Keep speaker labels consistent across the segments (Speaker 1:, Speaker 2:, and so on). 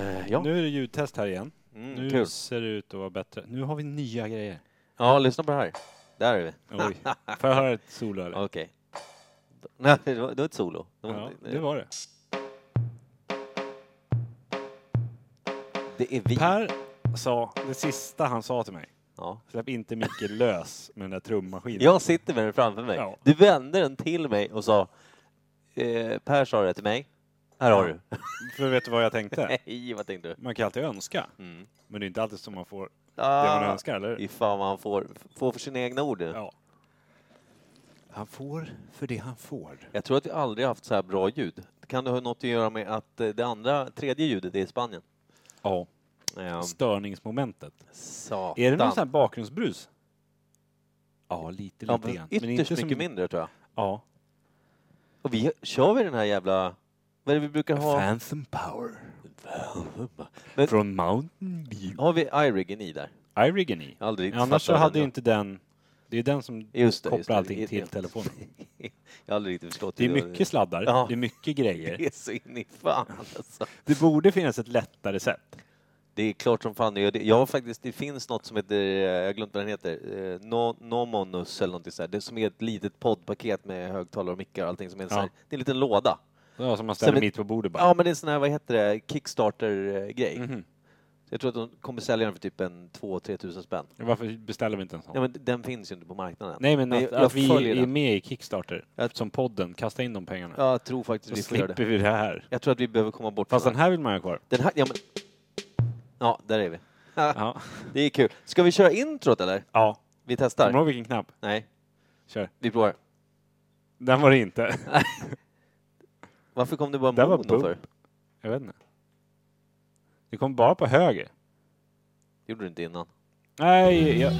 Speaker 1: Eh, Ja.
Speaker 2: Nu är det ljudtest här igen.
Speaker 1: Mm,
Speaker 2: nu
Speaker 1: kul.
Speaker 2: ser det ut att vara bättre. Nu har vi nya grejer.
Speaker 1: Ja, lyssna på det här. Där är vi.
Speaker 2: Oj. Får jag höra ett solo eller?
Speaker 1: Okej. Nej, det var, det var ett solo. Det var,
Speaker 2: Ja,
Speaker 1: det,
Speaker 2: det var det.
Speaker 1: det är vi.
Speaker 2: Per sa, det sista han sa till mig,
Speaker 1: Ja.
Speaker 2: släpp inte Micke lös med den där trummaskinen.
Speaker 1: Jag sitter med den framför mig.
Speaker 2: Ja.
Speaker 1: Du vände den till mig och sa eh, Per sa det till mig. Här har du.
Speaker 2: För vet du vad jag tänkte?
Speaker 1: Nej, vad tänkte du?
Speaker 2: Man kan alltid önska,
Speaker 1: Mm.
Speaker 2: men det är inte alltid som man får det man
Speaker 1: Ah,
Speaker 2: önskar, eller
Speaker 1: fy fan vad han får, får för sina egna ord nu.
Speaker 2: Ja. Han får för det han får.
Speaker 1: Jag tror att vi aldrig haft så här bra ljud. Kan det ha något att göra med att eh, det andra, tredje ljudet är i Spanien?
Speaker 2: Ja.
Speaker 1: Ja,
Speaker 2: Störningsmomentet.
Speaker 1: satan.
Speaker 2: Är det någon sån här bakgrundsbrus? Ja, lite,
Speaker 1: ja,
Speaker 2: lite
Speaker 1: men
Speaker 2: grann.
Speaker 1: Ytterst mycket
Speaker 2: som-
Speaker 1: mindre tror jag.
Speaker 2: Ja.
Speaker 1: Och vi kör vi den här jävla... Vad är det vi brukar ha?
Speaker 2: Phantom Power.
Speaker 1: Men-
Speaker 2: Från Mountain View.
Speaker 1: Har vi iRiggen i där?
Speaker 2: Irrigan i.
Speaker 1: Jag har Aldrig riktigt
Speaker 2: Annars så
Speaker 1: fattat
Speaker 2: hade
Speaker 1: den.
Speaker 2: inte den... Det är den som
Speaker 1: Just det,
Speaker 2: kopplar
Speaker 1: just det.
Speaker 2: allting
Speaker 1: Det-
Speaker 2: till
Speaker 1: det-
Speaker 2: telefonen.
Speaker 1: Jag har aldrig riktigt förstått
Speaker 2: Det är
Speaker 1: hur
Speaker 2: mycket sladdar,
Speaker 1: Ja.
Speaker 2: det är mycket grejer.
Speaker 1: Det är så in i fan alltså.
Speaker 2: Det borde finnas ett lättare sätt.
Speaker 1: Det är klart som fan det gör det. Jag har faktiskt, det finns något som heter, eh, jag har glömt vad den heter, eh, no, Nomonus eller någonting sånt där. Det som är ett litet poddpaket med högtalare och mickar och allting som är en sån här,
Speaker 2: Ja.
Speaker 1: det är en liten låda.
Speaker 2: Ja, som man ställer
Speaker 1: men-
Speaker 2: mitt på bordet bara.
Speaker 1: Ja men det är en sån här, vad heter det, Kickstarter-grej.
Speaker 2: Mhm.
Speaker 1: Jag tror att de kommer sälja den för typ en 2-3 tusen spänn.
Speaker 2: Varför beställer vi inte en sån?
Speaker 1: Ja men den finns ju inte på marknaden.
Speaker 2: Nej, men att,
Speaker 1: jag
Speaker 2: att vi
Speaker 1: följer
Speaker 2: är
Speaker 1: den.
Speaker 2: med i Kickstarter,
Speaker 1: Jag-
Speaker 2: som podden, kasta in de pengarna.
Speaker 1: Jag tror faktiskt
Speaker 2: så
Speaker 1: vi får göra
Speaker 2: slipper
Speaker 1: det.
Speaker 2: vi det här.
Speaker 1: Jag tror att vi behöver komma bort
Speaker 2: Fast
Speaker 1: från
Speaker 2: den här vill man ha kvar.
Speaker 1: den här. Ja, men... ja där är vi.
Speaker 2: Ja.
Speaker 1: Det är kul. Ska vi köra introt eller?
Speaker 2: ja.
Speaker 1: Vi
Speaker 2: Kommer du
Speaker 1: testar.
Speaker 2: ihåg vilken knapp?
Speaker 1: Nej,
Speaker 2: Kör.
Speaker 1: vi provar.
Speaker 2: Den var det inte.
Speaker 1: Varför kom det bara
Speaker 2: Där var
Speaker 1: mono
Speaker 2: bump.
Speaker 1: för?
Speaker 2: Jag vet inte. Det kom bara på höger.
Speaker 1: Det gjorde du inte innan.
Speaker 2: Nej, jag,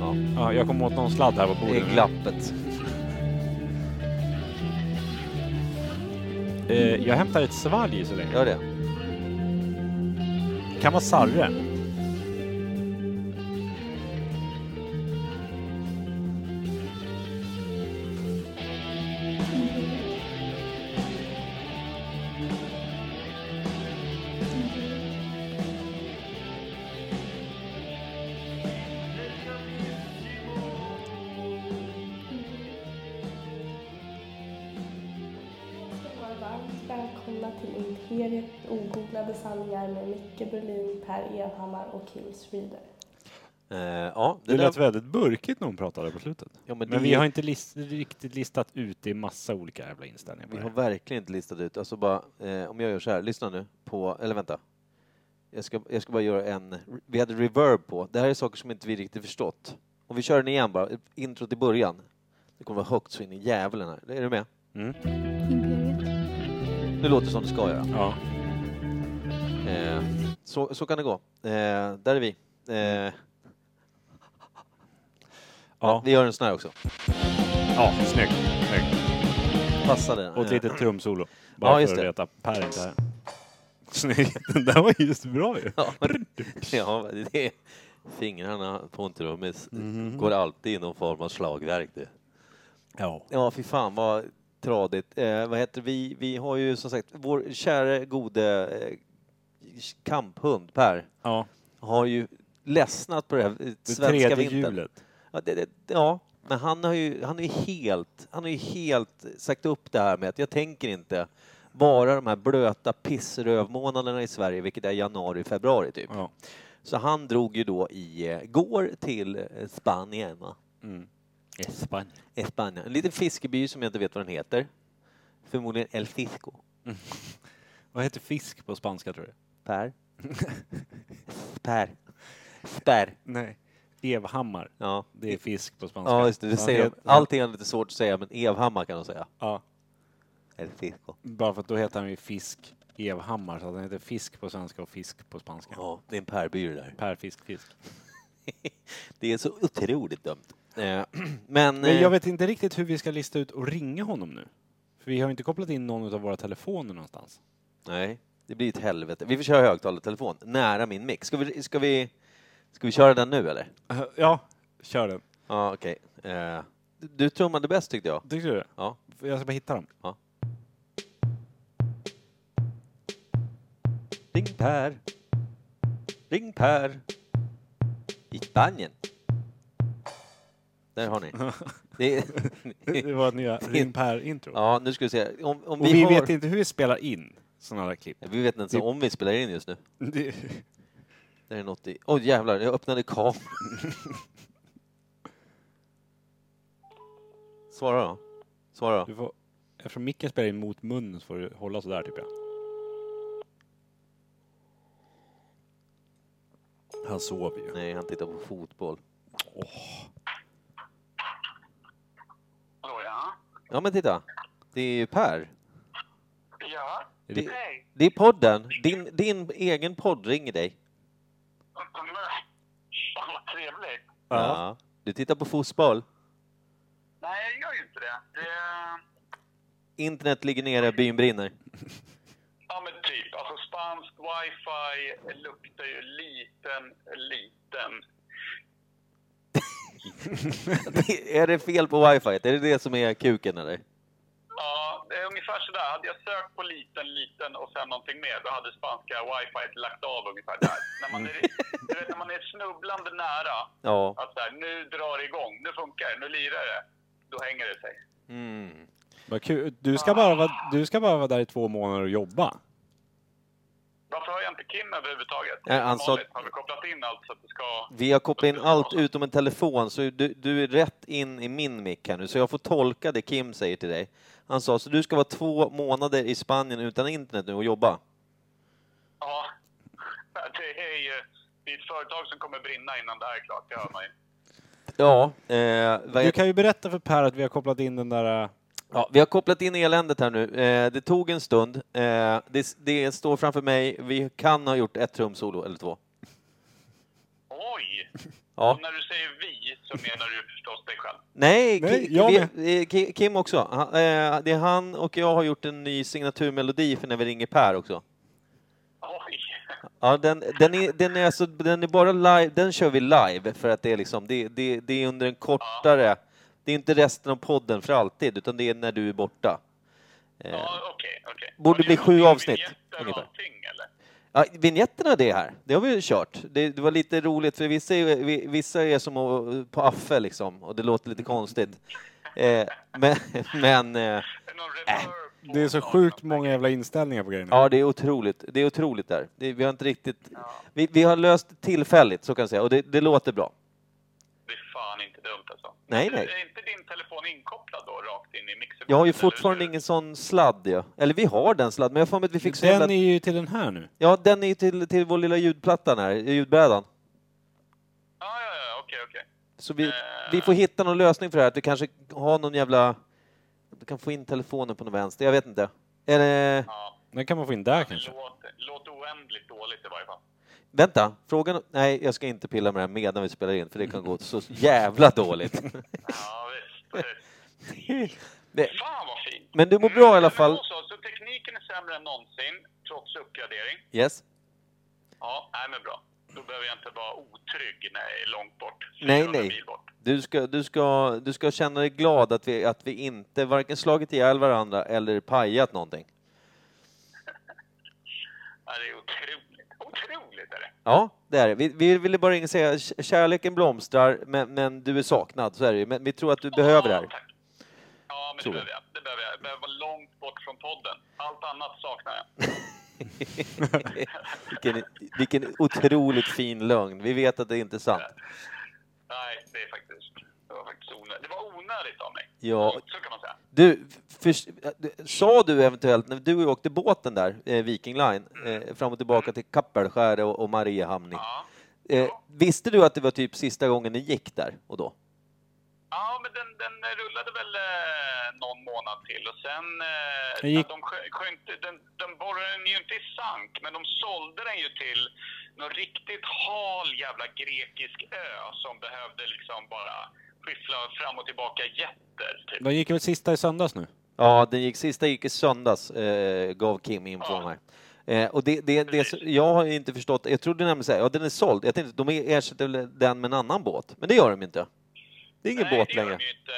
Speaker 1: Ja.
Speaker 2: ja, jag kom åt någon sladd här på
Speaker 1: Det
Speaker 2: bordet.
Speaker 1: är glappet.
Speaker 2: Eh, jag hämtar ett svalg så länge.
Speaker 1: Gör det.
Speaker 2: Det kan vara sarre.
Speaker 3: vara varmt välkomna till Imperiet ogooglade sanningar med Micke Berlin, Per Evhammar och Kim Reader.
Speaker 1: Eh, ja, det
Speaker 2: Det lät
Speaker 1: där...
Speaker 2: väldigt burkigt när hon pratade på slutet.
Speaker 1: ja,
Speaker 2: Men,
Speaker 1: det-
Speaker 2: vi har inte list, riktigt listat ut det i massa olika jävla inställningar på
Speaker 1: vi
Speaker 2: det
Speaker 1: har
Speaker 2: här.
Speaker 1: verkligen inte listat ut. Alltså bara, eh, om jag gör så här, lyssna nu på, eller vänta. Jag ska, jag ska bara göra en, vi hade reverb på. Det här är saker som inte vi riktigt förstått. Om vi kör den igen bara, introt i början. Det kommer vara högt så in i djävulen här. Är du med?
Speaker 2: Mm.
Speaker 1: Nu låter det som det ska göra.
Speaker 2: Ja.
Speaker 1: Eh, så, så kan det gå. Eh, där är vi. Eh,
Speaker 2: Ja.
Speaker 1: Vi gör en sån här också.
Speaker 2: ja, snyggt. snyggt.
Speaker 1: Passar den.
Speaker 2: Och ett
Speaker 1: Eh,
Speaker 2: litet trumsolo. Bara
Speaker 1: just
Speaker 2: för att
Speaker 1: det.
Speaker 2: reta Per är inte här. Snyggt. Den där var just bra ju.
Speaker 1: Ja, men- ja, det är, fingrarna på en trummis
Speaker 2: Mhm.
Speaker 1: går alltid i någon form av slagverk. Det.
Speaker 2: Ja.
Speaker 1: Ja, fy fan vad tradigt. Eh, vad heter vi? Vi har ju som sagt vår käre gode eh, kamphund Per
Speaker 2: ja.
Speaker 1: har ju ledsnat på det här eh,
Speaker 2: Det
Speaker 1: svenska
Speaker 2: tredje
Speaker 1: vintern.
Speaker 2: hjulet.
Speaker 1: Ja, det, det, ja, men han har ju, han är ju helt, han har ju helt sagt upp det här med att jag tänker inte bara de här blöta pissrövmånaderna i Sverige, vilket är januari, februari typ.
Speaker 2: Ja.
Speaker 1: Så han drog ju då i eh, går till eh, Spanien. Va?
Speaker 2: Mm. Spanien.
Speaker 1: Eh, Spanien. En liten fiskeby som jag inte vet vad den heter. Förmodligen El Fisco.
Speaker 2: Vad heter fisk på spanska tror du?
Speaker 1: Per. Per. Per.
Speaker 2: Nej. Evhammar.
Speaker 1: Ja.
Speaker 2: Det är fisk på spanska.
Speaker 1: Ja, just det. det säger de.
Speaker 2: het-
Speaker 1: Allting är lite svårt att säga, men Evhammar kan de säga.
Speaker 2: Ja.
Speaker 1: El Fisco.
Speaker 2: Bara för att då heter han ju Fisk Evhammar, så att han heter Fisk på svenska och Fisk på spanska.
Speaker 1: Ja, det är en Perby det där.
Speaker 2: Per Fisk Fisk.
Speaker 1: Det är så otroligt dumt. Eh, Men...
Speaker 2: Men jag
Speaker 1: eh,
Speaker 2: vet inte riktigt hur vi ska lista ut och ringa honom nu. För vi har ju inte kopplat in någon av våra telefoner någonstans.
Speaker 1: eh, Nej, det blir ett helvete. Vi får köra högtalartelefon nära min mick. Ska vi, ska vi, ska vi köra den nu eller?
Speaker 2: Ja, kör den.
Speaker 1: Ja, okej. Eh, du- du trummade bäst tyckte jag.
Speaker 2: Tyckte du det?
Speaker 1: Ja.
Speaker 2: Jag ska bara hitta dem.
Speaker 1: Ding, Ring Per. Ring Per. I Spanien. Där har ni. Det är,
Speaker 2: Det var nya Ring Per-intro.
Speaker 1: ja, nu ska vi se. Om, om
Speaker 2: Och vi,
Speaker 1: har,
Speaker 2: vet inte hur vi spelar in sådana där klipp.
Speaker 1: Vi vet inte ens om vi spelar in just nu.
Speaker 2: Det,
Speaker 1: Det är något i... Oj jävlar, jag öppnade kameran. Svara då. Svara då.
Speaker 2: du får, eftersom micken spelar in mot munnen så får du hålla sådär typ ja. Han sover ju.
Speaker 1: Nej, han tittar på fotboll.
Speaker 4: Hallå ja.
Speaker 1: Ja men titta. Det är ju Per.
Speaker 4: Ja.
Speaker 1: Det,
Speaker 4: Hej.
Speaker 1: det är podden. Din, din egen podd ringer dig.
Speaker 4: Fan, Vad trevligt.
Speaker 1: Ja. Du tittar på fotboll.
Speaker 4: Nej, jag gör ju inte det. det
Speaker 1: Internet ligger nere, byn brinner.
Speaker 4: ja men typ, alltså spanskt wifi luktar ju liten, liten.
Speaker 1: är det fel på wifi? Är det det som är kuken eller?
Speaker 4: Ja, det är ungefär sådär. Hade jag sökt på liten, liten och sen någonting mer, då hade spanska wifi lagt av ungefär där. när, man är, du vet, när man är snubblande nära,
Speaker 1: Ja.
Speaker 4: att så här, nu drar det igång, nu funkar det, nu lirar det. Då hänger det sig.
Speaker 1: Mm.
Speaker 2: Vad kul. Du ska, bara vara, du ska bara vara där i två månader och jobba.
Speaker 4: Varför har jag inte Kim överhuvudtaget?
Speaker 1: Nej, han sa-
Speaker 4: Vanligt. Har vi kopplat in allt så att det ska...
Speaker 1: Vi har kopplat in allt utom en telefon, så du, du är rätt in i min mick här nu, så jag får tolka det Kim säger till dig. Han sa, så du ska vara två månader i Spanien utan internet nu och jobba?
Speaker 4: Ja, det är ju det är ett företag som kommer brinna innan det här är klart, det hör man ju.
Speaker 1: Ja. Eh, vad
Speaker 2: Du
Speaker 1: är-
Speaker 2: kan ju berätta för Per att vi har kopplat in den där... äh,
Speaker 1: ja. Vi har kopplat in eländet här nu. Eh, det tog en stund. Eh, det, det står framför mig. Vi kan ha gjort ett trumsolo eller två.
Speaker 4: Oj!
Speaker 1: Ja.
Speaker 4: Och när du säger vi så menar du förstås dig själv.
Speaker 1: Nej,
Speaker 2: Nej,
Speaker 1: Ki-
Speaker 2: jag
Speaker 1: vi, eh, Ki- Kim också. Han, eh, det är han och jag har gjort en ny signaturmelodi för när vi ringer Per också.
Speaker 4: Oj!
Speaker 1: Ja, den, den, är, den, är alltså, den är bara live, den kör vi live för att det är liksom, det, det, det är under en kortare, det är inte resten av podden för alltid, utan det är när du är borta. Eh,
Speaker 4: Ja, okej, okej.
Speaker 1: Borde
Speaker 4: Har ni
Speaker 1: bli
Speaker 4: gjort
Speaker 1: sju
Speaker 4: några
Speaker 1: avsnitt,
Speaker 4: vignetter och
Speaker 1: ungefär.
Speaker 4: Allting, eller?
Speaker 1: ja, vignetterna det här, det har vi ju kört. Det, det var lite roligt, för vissa är, vi- vissa är som att- på affe liksom, och det låter lite konstigt. Eh, men, men eh,
Speaker 4: Är det någon reverb på
Speaker 2: Det är så
Speaker 4: någon?
Speaker 2: sjukt många jävla inställningar på grejerna.
Speaker 1: ja, det är otroligt, det är otroligt där. Det, vi har inte riktigt, vi, vi har löst det tillfälligt, så kan jag säga, och det, det låter bra.
Speaker 4: Det är fan inte dumt alltså.
Speaker 1: Nej,
Speaker 4: Men
Speaker 1: nej.
Speaker 4: Är inte din telefon inkopplad då, rakt in i mixerbordet?
Speaker 1: Jag har ju
Speaker 4: eller?
Speaker 1: fortfarande ingen sån sladd, ja. Eller vi har den sladd, men jag har för mig att vi fick så
Speaker 2: Den
Speaker 1: jävla...
Speaker 2: är ju till den här nu.
Speaker 1: Ja, den är ju till, till vår lilla ljudplattan här, ljudbrädan.
Speaker 4: Ja, ja, ja, okej, okej.
Speaker 1: Så vi,
Speaker 4: Eh.
Speaker 1: vi får hitta någon lösning för det här, att vi kanske har någon jävla... Du kan få in telefonen på någon vänster, jag vet inte. Eller...
Speaker 4: Ja,
Speaker 2: Den kan man få in där kanske.
Speaker 4: låt, låt oändligt dåligt i varje fall.
Speaker 1: Vänta, frågan... Nej, jag ska inte pilla med det här medan vi spelar in, för det kan gå så jävla dåligt.
Speaker 4: Ja, visst. precis.
Speaker 1: Det-
Speaker 4: Fan vad fint! Mm,
Speaker 1: Men du mår bra i alla
Speaker 4: men
Speaker 1: fall.
Speaker 4: då Så, så tekniken är sämre än någonsin, trots uppgradering.
Speaker 1: Yes.
Speaker 4: Ja, nej men bra. Då behöver jag inte vara otrygg när jag är långt bort.
Speaker 1: Nej,
Speaker 4: 400
Speaker 1: nej.
Speaker 4: mil Bort.
Speaker 1: Du ska, du, ska, du ska känna dig glad att vi, att vi inte varken slagit ihjäl varandra eller pajat någonting.
Speaker 4: Ja, det är otroligt. Otroligt är det.
Speaker 1: Ja, det är det. Vi, vi ville bara ringa och säga k- kärleken blomstrar, men, men du är saknad. Så är det ju. Men vi tror att du behöver det
Speaker 4: Ja,
Speaker 1: här.
Speaker 4: tack. Ja, men
Speaker 1: Tror
Speaker 4: det
Speaker 1: jag.
Speaker 4: behöver jag. Det behöver jag. jag behöver vara långt bort från podden. Allt annat saknar jag.
Speaker 1: vilken, vilken otroligt fin lögn. Vi vet att det inte är sant.
Speaker 4: Nej, det är faktiskt... Det var faktiskt onödigt. Det var onödigt av mig.
Speaker 1: Ja.
Speaker 4: Så kan man säga.
Speaker 1: Du, förs- äh, sa du eventuellt när du och jag åkte båten där, eh, Viking Line, eh, fram och tillbaka till Kappelskära och, och Mariehamn?
Speaker 4: Ja.
Speaker 1: Eh, visste du att det var typ sista gången ni gick där och då?
Speaker 4: Ja, men den, den rullade väl eh, någon månad till och sen... Eh,
Speaker 2: Den gick-
Speaker 4: De sjö- sjönk, den, den borrade den ju inte i sank, men de sålde den ju till någon riktigt hal jävla grekisk ö som behövde liksom bara skyffla fram och tillbaka jätter. Typ.
Speaker 2: Den gick väl sista i söndags nu?
Speaker 1: Ja, den gick, sista gick i söndags, eh, gav Kim info om här. Eh, och det, det, det,
Speaker 4: Precis.
Speaker 1: jag har ju inte förstått, jag trodde nämligen såhär, ja den är såld, jag tänkte de ersätter väl den med en annan båt, men det gör de inte. Det är ingen
Speaker 4: Nej,
Speaker 1: båt
Speaker 4: det gör
Speaker 1: längre.
Speaker 4: de ju inte.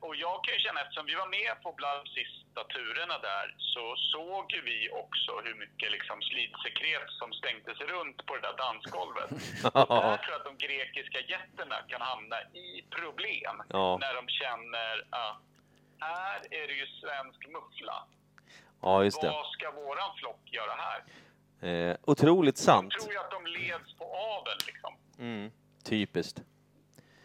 Speaker 4: och jag kan ju känna, eftersom vi var med på bland de sista turerna där, så såg ju vi också hur mycket liksom slidsekret som slängdes runt på det där dansgolvet. Och där tror jag att de grekiska jätterna kan hamna i problem
Speaker 1: Ja.
Speaker 4: när de känner att här är det ju svensk muffla.
Speaker 1: Ja, just det.
Speaker 4: Vad ska våran flock göra här?
Speaker 1: Eh, otroligt sant.
Speaker 4: Tror jag att de leds på aveln liksom.
Speaker 1: Mm. Typiskt.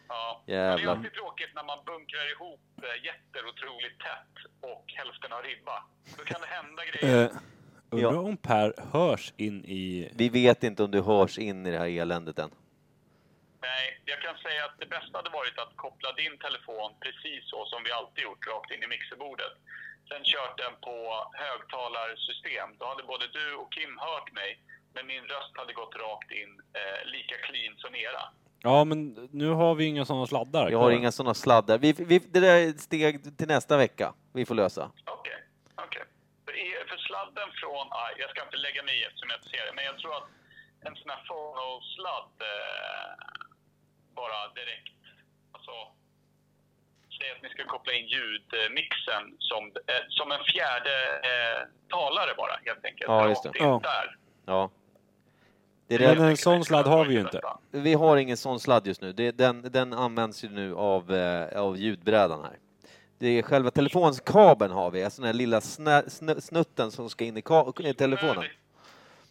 Speaker 4: Ja.
Speaker 1: Jävlar.
Speaker 4: Det är alltid tråkigt när man bunkrar ihop eh, jätter otroligt tätt och hälften har ribba. Då kan det hända
Speaker 2: Eh,
Speaker 4: grejer.
Speaker 2: Undrar
Speaker 1: Ja.
Speaker 2: om Per hörs in i...
Speaker 1: Vi vet inte om du hörs in i det här eländet än.
Speaker 4: Nej, jag kan säga att det bästa hade varit att koppla din telefon precis så som vi alltid gjort, rakt in i mixerbordet. Sen kört den på högtalarsystem. Då hade både du och Kim hört mig, men min röst hade gått rakt in eh, lika clean som era.
Speaker 2: Ja, men nu har vi inga sådana sladdar
Speaker 1: Jag har
Speaker 2: kvar.
Speaker 1: inga sådana sladdar. Vi, vi, det där är ett steg till nästa vecka vi får lösa.
Speaker 4: Okej, okej. För i- För sladden från, aj, jag ska inte lägga mig i eftersom jag inte ser det, men jag tror att en sån här Fono-sladd eh, bara direkt, alltså, säg att ni ska koppla in ljudmixen som, eh, som en fjärde eh, talare bara helt enkelt.
Speaker 1: Ja, just det.
Speaker 4: Rakt
Speaker 2: Ja.
Speaker 4: in där.
Speaker 1: Ja. Det är
Speaker 2: Men
Speaker 1: det.
Speaker 2: en sån sladd har vi ju inte.
Speaker 1: Vi har ingen sån sladd just nu. Det, den, den används ju nu av, eh, av ljudbrädan här. Det är själva telefonkabeln har vi, alltså den här lilla snä, snö, snutten som ska in i, ka, i telefonen.
Speaker 4: Snudig.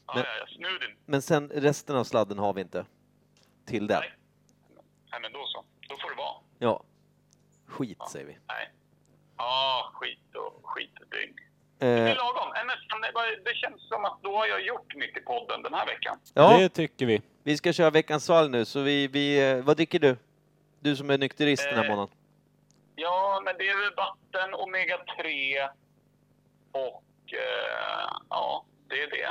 Speaker 4: Ja,
Speaker 1: Men-
Speaker 4: ja, ja, snuden.
Speaker 1: Men sen resten av sladden har vi inte. Till den.
Speaker 4: Nej. Nej, men då så. Då får det vara.
Speaker 1: Ja. Skit säger vi.
Speaker 4: Nej. Ja, skit och skit och dygn. Det är
Speaker 1: Eh,
Speaker 4: lagom. Nej, men fan, det var- Det känns som att då har jag gjort mitt i podden den här veckan.
Speaker 1: ja,
Speaker 2: Det tycker vi.
Speaker 1: vi ska köra veckans sal nu, så vi, vi... eh, Vad dricker du? Du som är nykterist den här
Speaker 4: Eh,
Speaker 1: månaden.
Speaker 4: Ja, men det är väl vatten, omega-3 och eh, ja, det är det.
Speaker 1: Du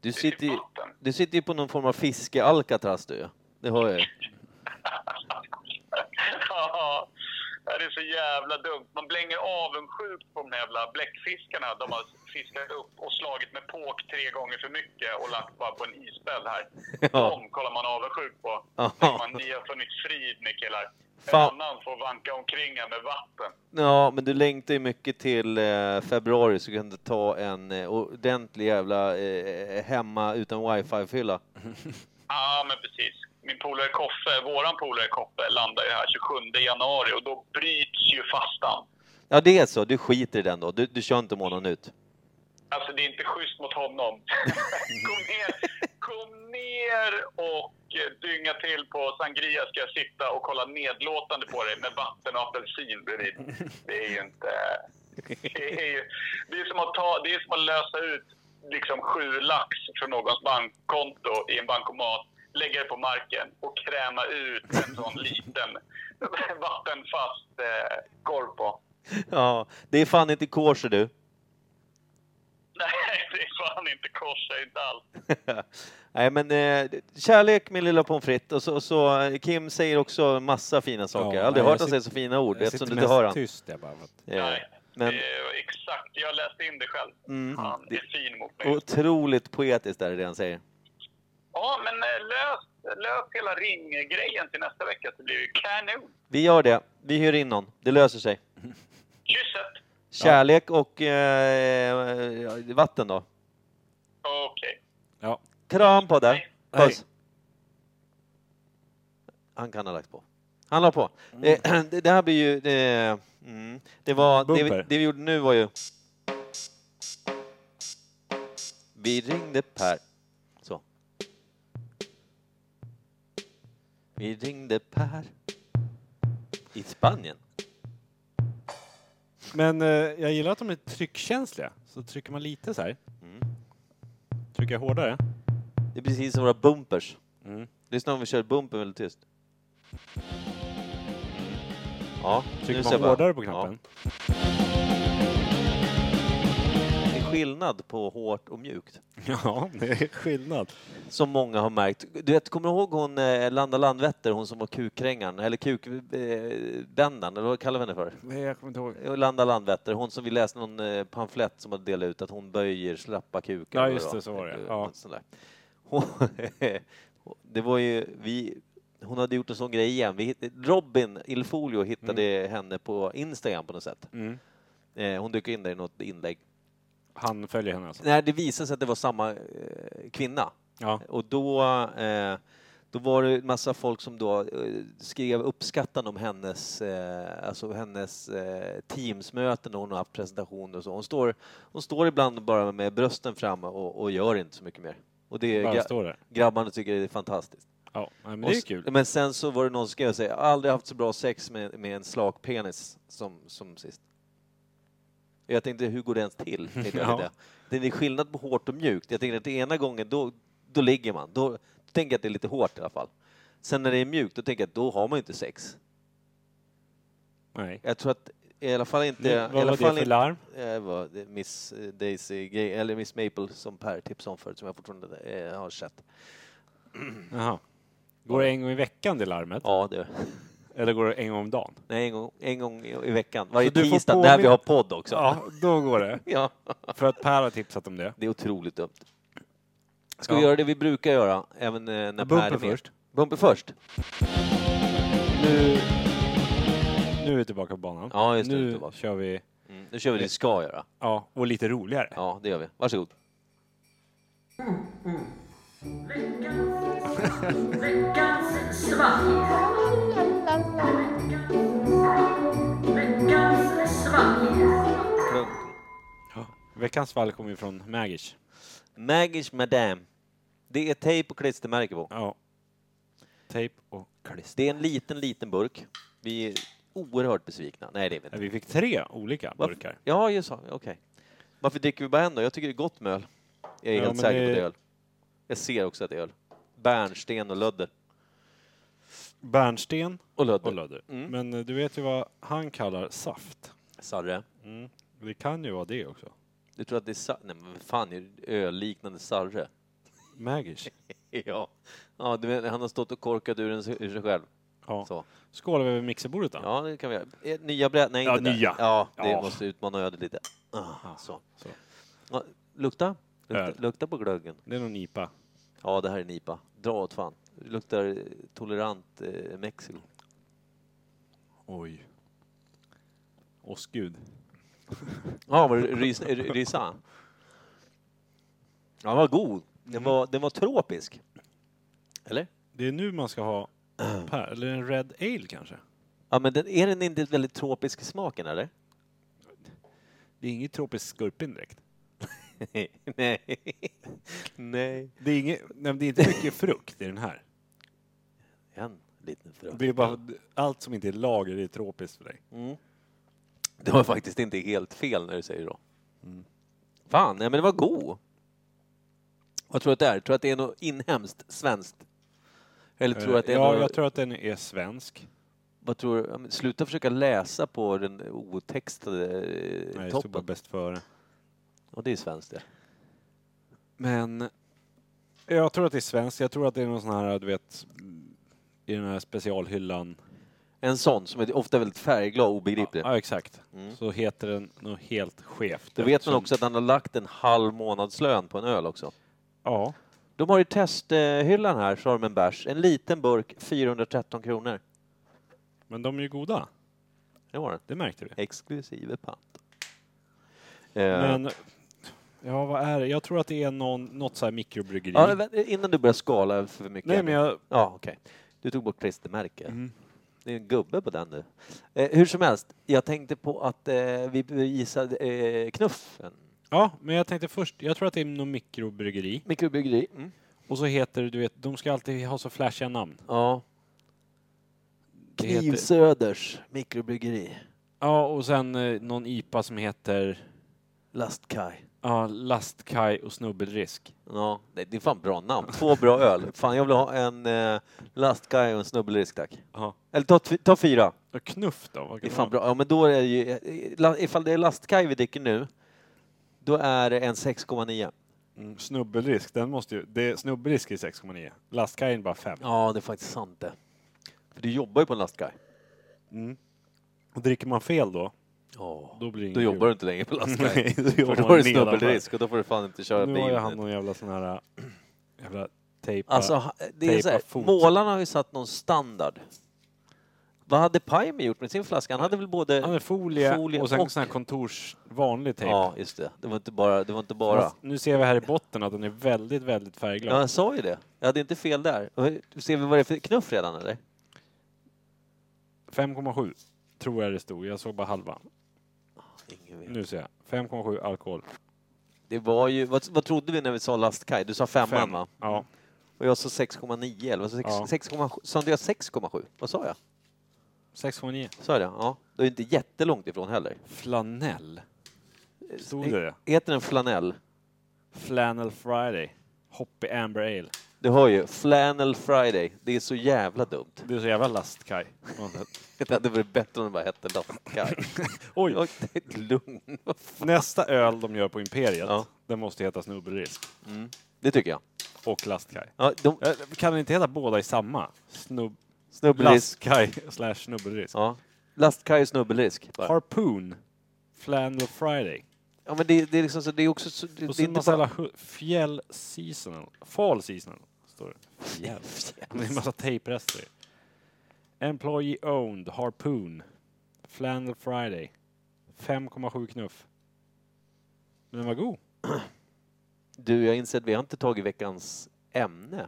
Speaker 4: Det är
Speaker 1: sitter,
Speaker 4: typ
Speaker 1: ju-
Speaker 4: vatten.
Speaker 1: du sitter ju på någon form av fiske-Alcatraz du ju. Det hör jag ju.
Speaker 4: ja, det är så jävla dumt. Man blänger avundsjukt på de jävla bläckfiskarna. De har fiskat upp och slagit med påk tre gånger för mycket och lagt bara på en isbädd här.
Speaker 1: Ja.
Speaker 4: De kollar man avundsjuk på.
Speaker 1: Ja.
Speaker 4: Tänker Man, ni har funnit frid, ni killar. En
Speaker 1: Fan.
Speaker 4: annan får vanka omkring här med vatten.
Speaker 1: Ja, men du längtar ju mycket till eh, februari så du kan ta en eh, ordentlig jävla eh, hemma utan wifi-fylla.
Speaker 4: Ja, men precis. Min polare Koffe, våran polare Koffe, landar ju här 27 januari och då bryts ju fastan.
Speaker 1: Ja, det är så. Du skiter i den då. Du, du kör inte månaden ut.
Speaker 4: Alltså det är inte schysst mot honom. kom, ner, kom ner och eh, dynga till på Sangria ska jag sitta och kolla nedlåtande på dig med vatten och apelsin bredvid. Det är ju inte... Det är, ju, det är, som, att ta, det är som att lösa ut liksom sju lax från någons bankkonto i en bankomat, lägga det på marken och kräma ut en sån liten vattenfast eh, korv på.
Speaker 1: Ja, det är fan inte kosher du.
Speaker 4: Nej, det är fan inte korsar inte alls.
Speaker 1: Nej, men eh, kärlek med lilla pommes frites. Och så, så eh, Kim säger också massa fina saker. jag har aldrig
Speaker 2: nej,
Speaker 1: hört
Speaker 2: jag
Speaker 1: honom säga så fina ord
Speaker 2: Jag
Speaker 1: eftersom
Speaker 2: sitter
Speaker 1: du inte hör
Speaker 2: mest
Speaker 1: honom.
Speaker 2: tyst. Jag bara, för att-
Speaker 1: Eh,
Speaker 4: Nej,
Speaker 1: men
Speaker 4: eh, exakt. Jag läste in det själv.
Speaker 1: Mm.
Speaker 4: Han är fin mot mig.
Speaker 1: otroligt poetiskt är det det han säger.
Speaker 4: Ja, men eh, lös, lös hela ringgrejen till nästa vecka så blir det kanon.
Speaker 1: Vi gör det. Vi hyr in någon. Det löser sig.
Speaker 4: Kysset!
Speaker 1: Kärlek och eh, vatten då.
Speaker 4: Okej.
Speaker 2: ja.
Speaker 1: Kram på dig.
Speaker 4: Hej.
Speaker 1: Puss. Han kan ha lagt på. Han la på. Eh, Det, det här blir ju... Det, mm, det, var, det, vi,
Speaker 2: Bumper.
Speaker 1: det vi gjorde nu var ju... Vi ringde Per. Så. Vi ringde Per. I Spanien.
Speaker 2: Men eh, jag gillar att de är tryckkänsliga. Så trycker man lite så här.
Speaker 1: Mm.
Speaker 2: Trycker jag hårdare?
Speaker 1: Det är precis som våra bumpers.
Speaker 2: Mm.
Speaker 1: Lyssna om vi kör bumpen väldigt tyst. Ja, nu
Speaker 2: Trycker
Speaker 1: ser jag
Speaker 2: man
Speaker 1: bara-
Speaker 2: hårdare på
Speaker 1: Ja.
Speaker 2: knappen?
Speaker 1: Det är skillnad på hårt och mjukt.
Speaker 2: Ja, det är skillnad.
Speaker 1: Som många har märkt. Du vet, kommer du ihåg hon eh, Landa Landvetter, hon som var kukkrängaren, eller kukbändaren, eller vad kallar vi henne för?
Speaker 2: Nej, jag kommer inte ihåg.
Speaker 1: Eh, Landa Landvetter, hon som vi läste någon eh, pamflett som hade delat ut att hon böjer slappa kukar. Eh,
Speaker 2: Ja, just det, så var det, ja.
Speaker 1: Hon, det var ju, vi hon hade gjort en sån grej igen. Vi, hitt- Robin Ilfolio hittade henne på Instagram på något sätt.
Speaker 2: Mm.
Speaker 1: Eh, hon dök in där i något inlägg.
Speaker 2: Han följer henne alltså?
Speaker 1: Nej, det visade sig att det var samma eh, kvinna.
Speaker 2: Ja.
Speaker 1: Och då, eh, då var det en massa folk som då eh, skrev uppskattande om hennes, eh, alltså hennes eh, teamsmöten och hon har haft presentationer och så. Hon står, hon står ibland bara med brösten fram och, och gör inte så mycket mer. Och det är
Speaker 2: Bara
Speaker 1: gra-
Speaker 2: står där.
Speaker 1: grabbarna tycker det är fantastiskt.
Speaker 2: Ja, nej, men
Speaker 1: Och
Speaker 2: det är
Speaker 1: s-
Speaker 2: kul.
Speaker 1: Men sen så var det någon som skrev sig, jag har aldrig haft så bra sex med, med en slak penis som, som sist. Jag tänkte, hur går det ens till? Tänkte jag
Speaker 2: Ja.
Speaker 1: lite. Det är skillnad på hårt och mjukt. Jag tänkte att det ena gången, då, då ligger man. Då, då tänker jag att det är lite hårt i alla fall. Sen när det är mjukt, då tänker jag att då har man ju inte sex.
Speaker 2: Nej.
Speaker 1: Jag tror att i alla fall inte...
Speaker 2: Nu,
Speaker 1: i
Speaker 2: vad
Speaker 1: alla
Speaker 2: var det
Speaker 1: fall
Speaker 2: för
Speaker 1: inte-
Speaker 2: larm?
Speaker 1: Det var det Miss eh, Daisy, Gay- eller Miss Maple som Per tipsade om förut, som jag fortfarande eh, har sett.
Speaker 2: Jaha. Går det en gång i veckan det larmet?
Speaker 1: Ja, det
Speaker 2: Eller går det en gång om dagen?
Speaker 1: Nej, en gång, en gång i i veckan. Varje
Speaker 2: du får
Speaker 1: tisdag
Speaker 2: påmin-
Speaker 1: när vi har podd också. Ja.
Speaker 2: Ja, då går det. För att Per har tipsat om det.
Speaker 1: Det är otroligt dumt. Ska
Speaker 2: Ja.
Speaker 1: vi göra det vi brukar göra, även eh, när Per är
Speaker 2: Bumper
Speaker 1: med?
Speaker 2: först.
Speaker 1: Bumper först.
Speaker 2: Nu, nu är vi tillbaka på banan.
Speaker 1: Ja, just det,
Speaker 2: nu
Speaker 1: tillbaka.
Speaker 2: kör vi,
Speaker 1: Mm. Nu kör vi det vi ska göra.
Speaker 2: ja, och lite roligare.
Speaker 1: Ja, det gör vi. Varsågod.
Speaker 5: Veckans svalg. Veckans svalg.
Speaker 2: Ja. Veckans fall kommer ju från Magish.
Speaker 1: Maggish Madame. Det är tejp och klistermärke på.
Speaker 2: Ja. Tejp och klister.
Speaker 1: Det är en liten, liten burk. Vi är oerhört besvikna. Nej, det är vi inte.
Speaker 2: Vi fick tre olika
Speaker 1: Varför-
Speaker 2: burkar.
Speaker 1: Ja, just så. Okej. Varför dricker vi bara en då? Jag tycker det är gott med öl. Jag är
Speaker 2: Ja,
Speaker 1: helt
Speaker 2: men
Speaker 1: säker på
Speaker 2: det-
Speaker 1: det är öl. Jag ser också att det är öl. Bärnsten och lödder.
Speaker 2: Bärnsten
Speaker 1: Och lödder.
Speaker 2: och lödder. Men eh, du vet ju vad han kallar saft.
Speaker 1: Sarre.
Speaker 2: Mm. Det kan ju vara det också.
Speaker 1: Du tror att det är sarre? Nej, men vad fan är det? ölliknande sarre?
Speaker 2: Magish.
Speaker 1: Ja. Ja, du menar, han har stått och korkat ur, en, ur sig själv.
Speaker 2: Ja.
Speaker 1: Så.
Speaker 2: Skålar vi över mixerbordet då?
Speaker 1: Ja, det kan vi göra. Eh, Nya bräd? Nej,
Speaker 2: Ja,
Speaker 1: inte där.
Speaker 2: nya.
Speaker 1: Ja, det
Speaker 2: Ja.
Speaker 1: måste utmana ödet lite. Ah, så.
Speaker 2: Så.
Speaker 1: Ja, lukta.
Speaker 2: Öl.
Speaker 1: Lukta, lukta på glöggen.
Speaker 2: Det är någon IPA.
Speaker 1: Ja, det här är nipa. Dra åt fan. Det luktar eh, tolerant eh, Mexiko.
Speaker 2: Oj. Åskgud.
Speaker 1: Ja, var det ris, r- risa? Ja, den var god. Den var, den var tropisk. Eller?
Speaker 2: Det är nu man ska ha Per, eller en Red Ale kanske?
Speaker 1: Ja, men den, är den inte väldigt tropisk i smaken, eller?
Speaker 2: Det är inget tropiskt skorpion direkt.
Speaker 1: Nej. Nej.
Speaker 2: Det är, inget, nej, men det är inte mycket frukt i den här.
Speaker 1: En liten frukt.
Speaker 2: Det är bara allt som inte är lager är tropiskt för dig.
Speaker 1: Det var faktiskt inte helt fel när du säger så.
Speaker 2: Mm.
Speaker 1: Fan, nej, men det var god. Vad tror du att det är? Tror du att det är något inhemskt, svenskt? Eller tror du att det är
Speaker 2: Eh, ja,
Speaker 1: något...
Speaker 2: jag tror att den är svensk.
Speaker 1: Vad tror du? Ja, men Sluta försöka läsa på den otextade eh,
Speaker 2: Nej, det stod bara
Speaker 1: toppen.
Speaker 2: bäst före.
Speaker 1: Och det är svenskt det.
Speaker 2: Men jag tror att det är svenskt. Jag tror att det är någon sån här, du vet, i den här specialhyllan.
Speaker 1: En sån som är ofta väldigt färgglad och obegriplig.
Speaker 2: Ja, exakt.
Speaker 1: Mm.
Speaker 2: Så heter den något helt skevt.
Speaker 1: Då vet man
Speaker 2: Eftersom-
Speaker 1: också att han har lagt en halv månadslön på en öl också.
Speaker 2: Ja.
Speaker 1: De har i testhyllan här så har de en bärs. En liten burk, 413 kronor.
Speaker 2: Men de är ju goda.
Speaker 1: Det var den.
Speaker 2: Det märkte vi.
Speaker 1: Exklusive pant. Eh,
Speaker 2: Men, ja vad är det? Jag tror att det är någon, något så här mikrobryggeri.
Speaker 1: ja, men vänta, innan du börjar skala för mycket.
Speaker 2: Nej men jag,
Speaker 1: Ja, okej. Du tog bort klistermärke. Det är en gubbe på den nu. Eh, hur som helst, jag tänkte på att eh, vi gissade eh, knuffen.
Speaker 2: ja, men jag tänkte först, jag tror att det är någon mikrobryggeri.
Speaker 1: Mikrobryggeri.
Speaker 2: Och så heter det, du vet, de ska alltid ha så flashiga namn.
Speaker 1: Ja.
Speaker 2: Det heter-
Speaker 1: Knivsöders mikrobryggeri.
Speaker 2: Ja, och sen eh, någon IPA som heter
Speaker 1: Lastkaj.
Speaker 2: ja, Lastkaj och Snubbelrisk.
Speaker 1: Ja, det det är fan bra namn. Två bra öl. Fan, jag vill ha en eh, lastkaj och en snubbelrisk, tack.
Speaker 2: Ja.
Speaker 1: Eller ta, t- ta fyra.
Speaker 2: Ja, Knuff då? Vad
Speaker 1: Det
Speaker 2: kan
Speaker 1: är
Speaker 2: det
Speaker 1: fan
Speaker 2: vara?
Speaker 1: bra. Ja, men då är det ju... eh, la- Ifall det är lastkaj vi dricker nu, då är det en 6,9.
Speaker 2: Mm, snubbelrisk, den måste ju, det, snubbelrisk är 6,9. Lastkajen bara 5.
Speaker 1: Ja, det är faktiskt sant det. För du jobbar ju på en lastkaj.
Speaker 2: Och dricker man fel då,
Speaker 1: Ja.
Speaker 2: då blir det
Speaker 1: Då
Speaker 2: inget
Speaker 1: jobbar
Speaker 2: kul.
Speaker 1: du inte längre på lastkaj.
Speaker 2: Nej, då
Speaker 1: För
Speaker 2: jobbar
Speaker 1: då är det
Speaker 2: man nedanför.
Speaker 1: snubbelrisk och då får du fan inte köra
Speaker 2: Nu har jag hand
Speaker 1: bil.
Speaker 2: om jävla sån här äh, jävla tejpa.
Speaker 1: Alltså, ha- det är så
Speaker 2: tejpa
Speaker 1: här,
Speaker 2: fot.
Speaker 1: målarna har ju satt någon standard. Vad hade Pajmer gjort med sin flaska? Han hade väl både...
Speaker 2: Han hade folie, och sen sån här kontors vanlig tejp.
Speaker 1: Ja, just det. Det var inte bara... Det var inte bara.
Speaker 2: Fast Nu ser vi här i botten att den är väldigt, väldigt
Speaker 1: Ja,
Speaker 2: färgglad.
Speaker 1: jag sa ju det. Jag hade inte fel där. Och Ser vi vad det är för knuff redan, eller?
Speaker 2: 5,7 tror jag det stod. Jag såg bara halva.
Speaker 1: Ingen vet.
Speaker 2: Nu ser jag. 5,7 alkohol.
Speaker 1: Det var ju... Vad, vad trodde vi när vi sa lastkaj? Du sa femman,
Speaker 2: Fem.
Speaker 1: va? Mm.
Speaker 2: Ja.
Speaker 1: Och jag sa 6,9 eller vad sa
Speaker 2: Ja.
Speaker 1: jag? 6, 6,7? Sa inte jag 6,7? Vad sa jag?
Speaker 2: 6,9.
Speaker 1: Sa jag det? Ja. Det är inte jättelångt ifrån heller. Eh,
Speaker 2: Flanell. Stod det det?
Speaker 1: Heter den flanell?
Speaker 2: Flannel Friday. Hoppy Amber Ale.
Speaker 1: Du hör ju, Flannel Friday. Det är så jävla dumt.
Speaker 2: Det är så jävla lastkaj.
Speaker 1: Det hade varit bättre om det bara hette Lastkaj.
Speaker 2: Oj,
Speaker 1: Och det är Lugn.
Speaker 2: nästa öl de gör på Imperiet,
Speaker 1: Ja.
Speaker 2: den måste heta Snubbelrisk
Speaker 1: Det tycker jag.
Speaker 2: och Lastkaj.
Speaker 1: Ja, de,
Speaker 2: Eh, Kan den inte heta båda i samma? Snubb...
Speaker 1: snubbelrisk.
Speaker 2: Lastkaj slash Snubbelrisk.
Speaker 1: Ja. Lastkaj och snubbelrisk. Bara.
Speaker 2: Harpoon. Flannel Friday.
Speaker 1: Ja, men det, det är liksom så, det är också så, det,
Speaker 2: Och
Speaker 1: det är
Speaker 2: sen
Speaker 1: inte
Speaker 2: massa
Speaker 1: bara...
Speaker 2: jävla hu- fjäll seasonal. Fall seasonal, står det. Fjäll. Det är en massa tejprester. i. Employee owned, harpoon, flannel friday, 5,7 knuff. Men den var god.
Speaker 1: Du, jag inser att vi har inte tagit veckans ämne.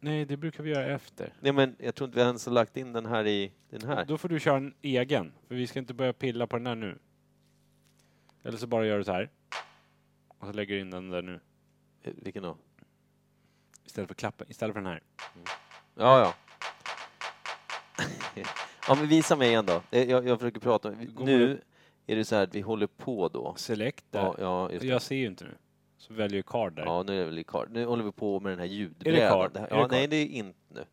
Speaker 2: Nej, det brukar vi göra efter.
Speaker 1: Nej, men jag tror inte vi ens har lagt in den här i den här.
Speaker 2: Då får du köra en egen, för vi ska inte börja pilla på den här nu. Eller så bara gör du så här. Och så lägger du in den där nu.
Speaker 1: Eh, Vilken då?
Speaker 2: Istället för klappen, istället för den här.
Speaker 1: Ja, ja. ja, men visa mig igen då. Eh, Jag, jag försöker prata. Nu är det så här att vi håller på då.
Speaker 2: Select där.
Speaker 1: Ja, ja, just det.
Speaker 2: Jag ser ju inte nu. Så väljer card där.
Speaker 1: Ja, nu är det väl i card. Nu håller vi på med den här ljudbrädan.
Speaker 2: card?
Speaker 1: Det här-
Speaker 2: Är
Speaker 1: Ja,
Speaker 2: det card?
Speaker 1: nej, det är inte nu.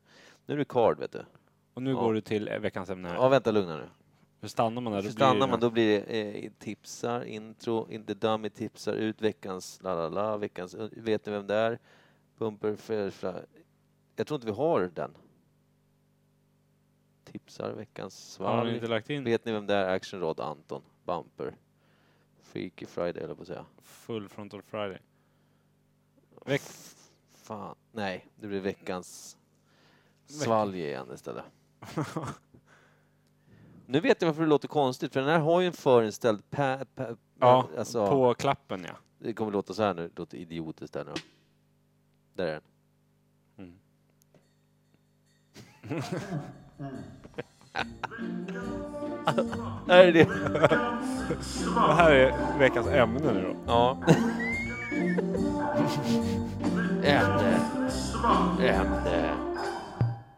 Speaker 1: Nu är det card, vet du.
Speaker 2: Och nu
Speaker 1: Ja.
Speaker 2: går du till eh, veckans ämne här.
Speaker 1: Ja, vänta, lugna nu.
Speaker 2: För stannar man där,
Speaker 1: Så
Speaker 2: då
Speaker 1: stannar
Speaker 2: blir
Speaker 1: man, då blir det eh, tipsar, intro, inte dummy tipsar, ut veckans la la la, veckans, eh, vet ni vem det är? Pumper, för, för, jag tror inte vi har den. Tipsar, veckans
Speaker 2: Har ni
Speaker 1: svalg.
Speaker 2: inte lagt in
Speaker 1: Vet ni vem det är? Actionrad Anton, Bumper, Freaky Friday, eller på att säga.
Speaker 2: Full Frontal Friday? Veck
Speaker 1: Fan, nej, det blir veckans svalg igen istället. nu vet jag varför det låter konstigt, för den här har ju en förinställd pa, pa,
Speaker 2: ja,
Speaker 1: alltså,
Speaker 2: på klappen ja.
Speaker 1: Det kommer låta så här nu, det låter idiotiskt där nu. Där är den. Där är det.
Speaker 2: Det här är veckans ämne nu då.
Speaker 1: Ja. Ämne. Ämne.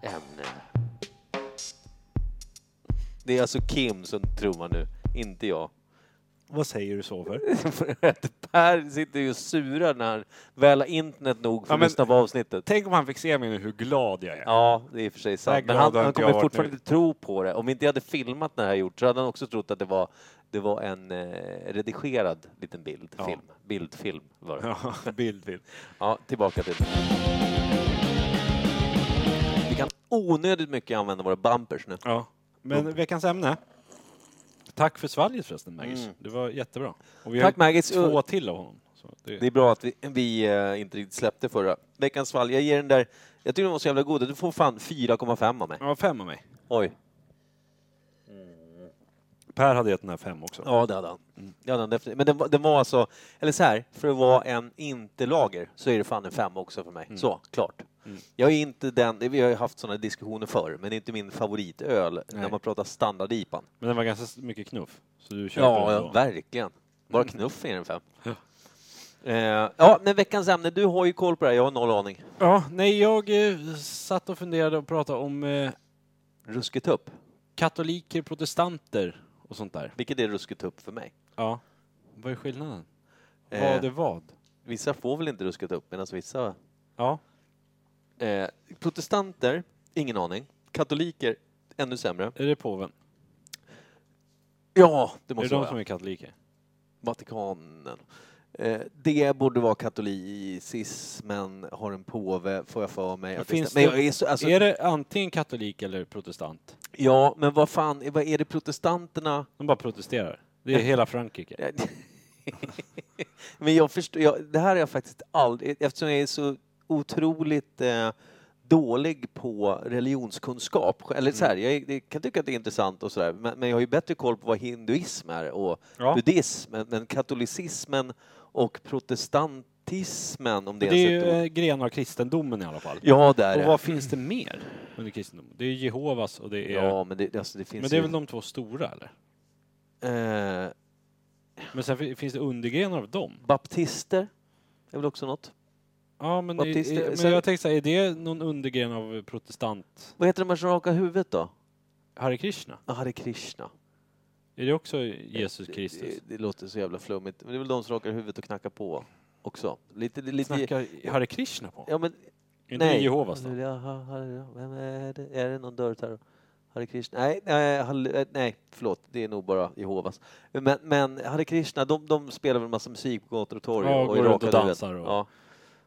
Speaker 1: Ämne. Det är alltså Kim som trummar nu, inte jag.
Speaker 2: Vad säger du så för?
Speaker 1: För att Per sitter ju och surar när han väl har internet nog för
Speaker 2: Ja, men-
Speaker 1: att lyssna på avsnittet.
Speaker 2: Tänk om han fick se mig nu hur glad jag är.
Speaker 1: Ja, det är i och för sig
Speaker 2: Vad
Speaker 1: sant. Men
Speaker 2: glad
Speaker 1: han,
Speaker 2: har
Speaker 1: han
Speaker 2: inte
Speaker 1: kommer
Speaker 2: jag varit
Speaker 1: fortfarande
Speaker 2: nu.
Speaker 1: inte tro på det. Om inte jag hade filmat när det här gjort så hade han också trott att det var, det var en eh, redigerad liten bild.
Speaker 2: Ja.
Speaker 1: Film. Bildfilm var det. Ja.
Speaker 2: Ja, bild, bild.
Speaker 1: tillbaka till Vi kan onödigt mycket använda våra bumpers nu.
Speaker 2: Ja. Men veckans ämne. Tack för svalget förresten Maggis.
Speaker 1: Mm.
Speaker 2: Det var jättebra. Och vi
Speaker 1: Tack,
Speaker 2: har ju
Speaker 1: Maggis.
Speaker 2: två till av honom. Så det,
Speaker 1: Det är bra att vi, vi eh, inte riktigt släppte förra. Veckans fall, jag ger den där, jag tycker den var så jävla god. Du får fan 4,5 av mig.
Speaker 2: Ja, fem av mig.
Speaker 1: Oj.
Speaker 2: Per hade gett den här fem också.
Speaker 1: Ja, det hade han. Det hade han definitivt. Men den var, den var alltså, eller så här, för att vara en inte-lager så är det fan en femma också för
Speaker 2: Mm.
Speaker 1: mig. Så, klart. Jag är inte den, vi har ju haft sådana diskussioner förr, men det är inte min favoritöl när
Speaker 2: Nej.
Speaker 1: man pratar standardipan.
Speaker 2: Men den var ganska s- mycket knuff. Så du köper
Speaker 1: Ja,
Speaker 2: den
Speaker 1: ja,
Speaker 2: då. Mm.
Speaker 1: verkligen. Bara knuff är en fem. Eh, ja, men veckans ämne, du har ju koll på det här, jag har noll aning.
Speaker 2: Ja, nej, jag eh, satt och funderade och pratade om eh,
Speaker 1: Rusketupp,
Speaker 2: katoliker, protestanter och sånt där.
Speaker 1: vilket är rusketupp för mig?
Speaker 2: Ja. Vad är skillnaden?
Speaker 1: Eh.
Speaker 2: Vad är vad?
Speaker 1: Vissa får väl inte rusketupp, medan vissa
Speaker 2: Ja.
Speaker 1: Eh, protestanter, ingen aning. Katoliker, ännu sämre.
Speaker 2: Är det påven?
Speaker 1: Ja, det
Speaker 2: Är det
Speaker 1: måste
Speaker 2: de
Speaker 1: vara.
Speaker 2: som är katoliker?
Speaker 1: Vatikanen. Eh, det borde vara katolicismen, har en påve, får jag för mig. att det
Speaker 2: finns
Speaker 1: stämmer.
Speaker 2: det-
Speaker 1: men jag är så, alltså,
Speaker 2: är det antingen katolik eller protestant?
Speaker 1: Ja, men vad fan, är- vad är det protestanterna...
Speaker 2: De bara protesterar. Det är hela Frankrike.
Speaker 1: men jag förstår, jag, det här har jag faktiskt aldrig... Eftersom jag är så otroligt eh, dålig på religionskunskap. Eller så
Speaker 2: Mm.
Speaker 1: här, jag, är- jag kan tycka att det är intressant och sådär, men, men jag har ju bättre koll på vad hinduism är och
Speaker 2: Ja.
Speaker 1: buddhism, men, men katolicismen och protestantismen, om det,
Speaker 2: Det är
Speaker 1: ens
Speaker 2: ju
Speaker 1: ett ord.
Speaker 2: eh, grenar av kristendomen i alla fall.
Speaker 1: Ja, det är
Speaker 2: och
Speaker 1: det.
Speaker 2: vad finns det mer under kristendomen? Det är ju Jehovas och det är...
Speaker 1: Ja, men det, alltså, det finns
Speaker 2: men det är
Speaker 1: ju-
Speaker 2: väl de två stora eller?
Speaker 1: Eh,
Speaker 2: Men sen fi- finns det undergrenar av dem?
Speaker 1: baptister är väl också något.
Speaker 2: Ja, men, i,
Speaker 1: Baptister-
Speaker 2: i, men
Speaker 1: sen-
Speaker 2: jag tänkte säga, är det någon undergren av protestant
Speaker 1: Vad heter de här som rakar huvudet då?
Speaker 2: Hare Krishna?
Speaker 1: Ah, Hare Krishna.
Speaker 2: Är det också Jesus Kristus?
Speaker 1: Det, det låter så jävla flummigt. Men det är väl de som rakar huvudet och knackar på också. Lite, lite...
Speaker 2: Snackar Hare Krishna på?
Speaker 1: Ja, men
Speaker 2: Är inte det Jehovas då?
Speaker 1: Halleluja, ha- halleluja. Vem är det? Är det någon dörrterror? Hare Krishna? Nej, nej, halle- eh, nej, förlåt. Det är nog bara Jehovas. Men, men Hare Krishna, de, de spelar väl en massa musik på gator och torg
Speaker 2: Ja,
Speaker 1: och
Speaker 2: går runt och
Speaker 1: rakar huvudet.
Speaker 2: dansar och-
Speaker 1: Ja.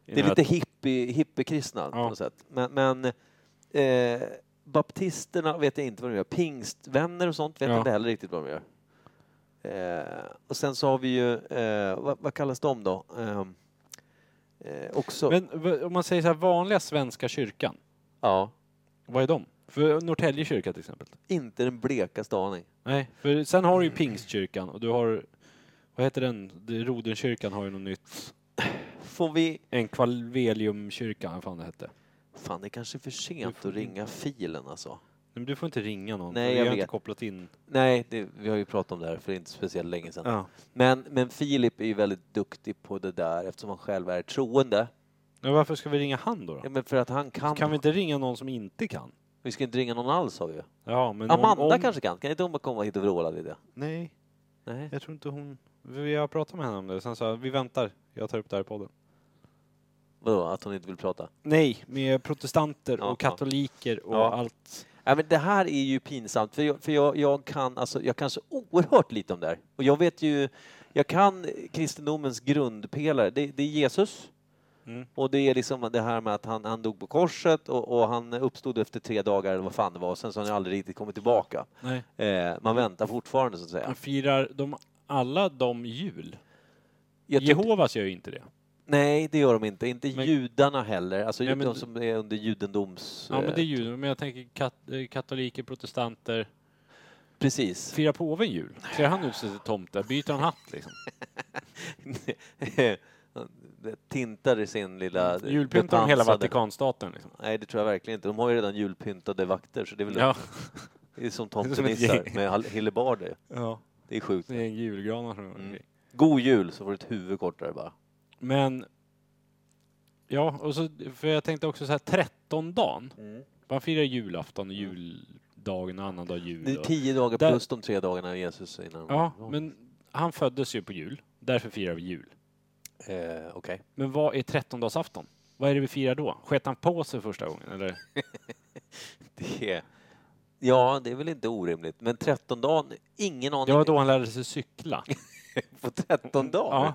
Speaker 1: Det är lite hippie, hippiekristna på
Speaker 2: Ja.
Speaker 1: något sätt. Men, men eh, baptisterna vet jag inte vad de gör. Pingstvänner och sånt vet
Speaker 2: Ja.
Speaker 1: jag inte heller riktigt vad de gör. Eh, och sen så har vi ju, eh, vad, vad kallas de då? Ehm, eh, också,
Speaker 2: Men v- om man säger så här, vanliga Svenska kyrkan,
Speaker 1: ja,
Speaker 2: vad är de? För Norrtälje kyrka till exempel?
Speaker 1: inte den blekaste aning.
Speaker 2: Nej, för sen har du ju Pingstkyrkan och du har, vad heter den, Det- Rodenkyrkan har ju något nytt.
Speaker 1: Får vi,
Speaker 2: En Kvalveliumkyrkan, vad fan det hette.
Speaker 1: fan det är kanske för sent
Speaker 2: får
Speaker 1: att ringa filen alltså.
Speaker 2: Men du får inte ringa någon,
Speaker 1: Nej,
Speaker 2: för vi
Speaker 1: jag
Speaker 2: har inte
Speaker 1: vet.
Speaker 2: kopplat in.
Speaker 1: Nej, det, vi har ju pratat om det här för inte speciellt länge sedan.
Speaker 2: Ja.
Speaker 1: Men, men Filip är ju väldigt duktig på det där eftersom han själv är troende.
Speaker 2: Men varför ska vi ringa han då? då?
Speaker 1: Ja, men för att han kan.
Speaker 2: Kan vi inte ringa någon som inte kan?
Speaker 1: Vi ska inte ringa någon alls sa vi ju.
Speaker 2: Ja, men
Speaker 1: Amanda
Speaker 2: om, om...
Speaker 1: kanske kan? Kan inte hon bara komma hit och vråla lite?
Speaker 2: Nej,
Speaker 1: Nej.
Speaker 2: jag tror inte hon... Vi har pratat med henne om det, sen sa jag, vi väntar, jag tar upp det här i podden.
Speaker 1: Vadå, att hon inte vill prata?
Speaker 2: Nej, med protestanter
Speaker 1: Ja,
Speaker 2: och katoliker och
Speaker 1: Ja.
Speaker 2: allt.
Speaker 1: Nej, men det här är ju pinsamt, för, jag, för jag, jag, kan, alltså, jag kan så oerhört lite om det här. Och jag vet ju, jag kan kristendomens grundpelare. Det, det är Jesus.
Speaker 2: Mm.
Speaker 1: Och det är liksom det här med att han, han dog på korset och, och han uppstod efter tre dagar eller vad fan det var. Sen så har han aldrig riktigt kommit tillbaka.
Speaker 2: Nej.
Speaker 1: Eh, man väntar fortfarande så att säga.
Speaker 2: Man firar de, alla de jul.
Speaker 1: Jag tyckte-
Speaker 2: Jehovas gör ju inte det.
Speaker 1: nej, det gör de inte. Inte
Speaker 2: Men-
Speaker 1: judarna heller. Alltså
Speaker 2: Nej, men-
Speaker 1: de som är under judendoms...
Speaker 2: Ja, men det är
Speaker 1: eh,
Speaker 2: jul. Men jag tänker kat- eh, katoliker, protestanter.
Speaker 1: Precis.
Speaker 2: Firar påven jul? Klär han ut sig till tomte? Byter han hatt liksom?
Speaker 1: tintar i sin lilla...
Speaker 2: Julpyntar Mm, de hela
Speaker 1: bepansade-
Speaker 2: Vatikanstaten liksom?
Speaker 1: Nej, det tror jag verkligen inte. De har ju redan julpyntade vakter, så det är väl
Speaker 2: Ja.
Speaker 1: det är som
Speaker 2: Det är som ett
Speaker 1: tomtenissar
Speaker 2: gäng.
Speaker 1: med hall- hillebarder.
Speaker 2: ja.
Speaker 1: Det är sjukt.
Speaker 2: Det är en julgranar som mm.
Speaker 1: God jul, så får du ett huvud kortare bara.
Speaker 2: Men... Ja, och så, för jag tänkte också så här, trettondagen. Man firar julafton och juldagen och annandag jul.
Speaker 1: Det är
Speaker 2: och-
Speaker 1: tio dagar
Speaker 2: Där-
Speaker 1: plus de tre dagarna Jesus innan.
Speaker 2: Ja, men han föddes ju på jul. Därför firar vi jul.
Speaker 1: Eh, Okej.
Speaker 2: Men vad är trettondagsafton? Vad är det vi firar då? Sket han på sig första gången? Eller?
Speaker 1: Det är... Ja, det är väl inte orimligt. Men 13 dagen, ingen
Speaker 2: Det
Speaker 1: aning.
Speaker 2: var då han lärde sig cykla.
Speaker 1: På 13 dagar?
Speaker 2: Ja.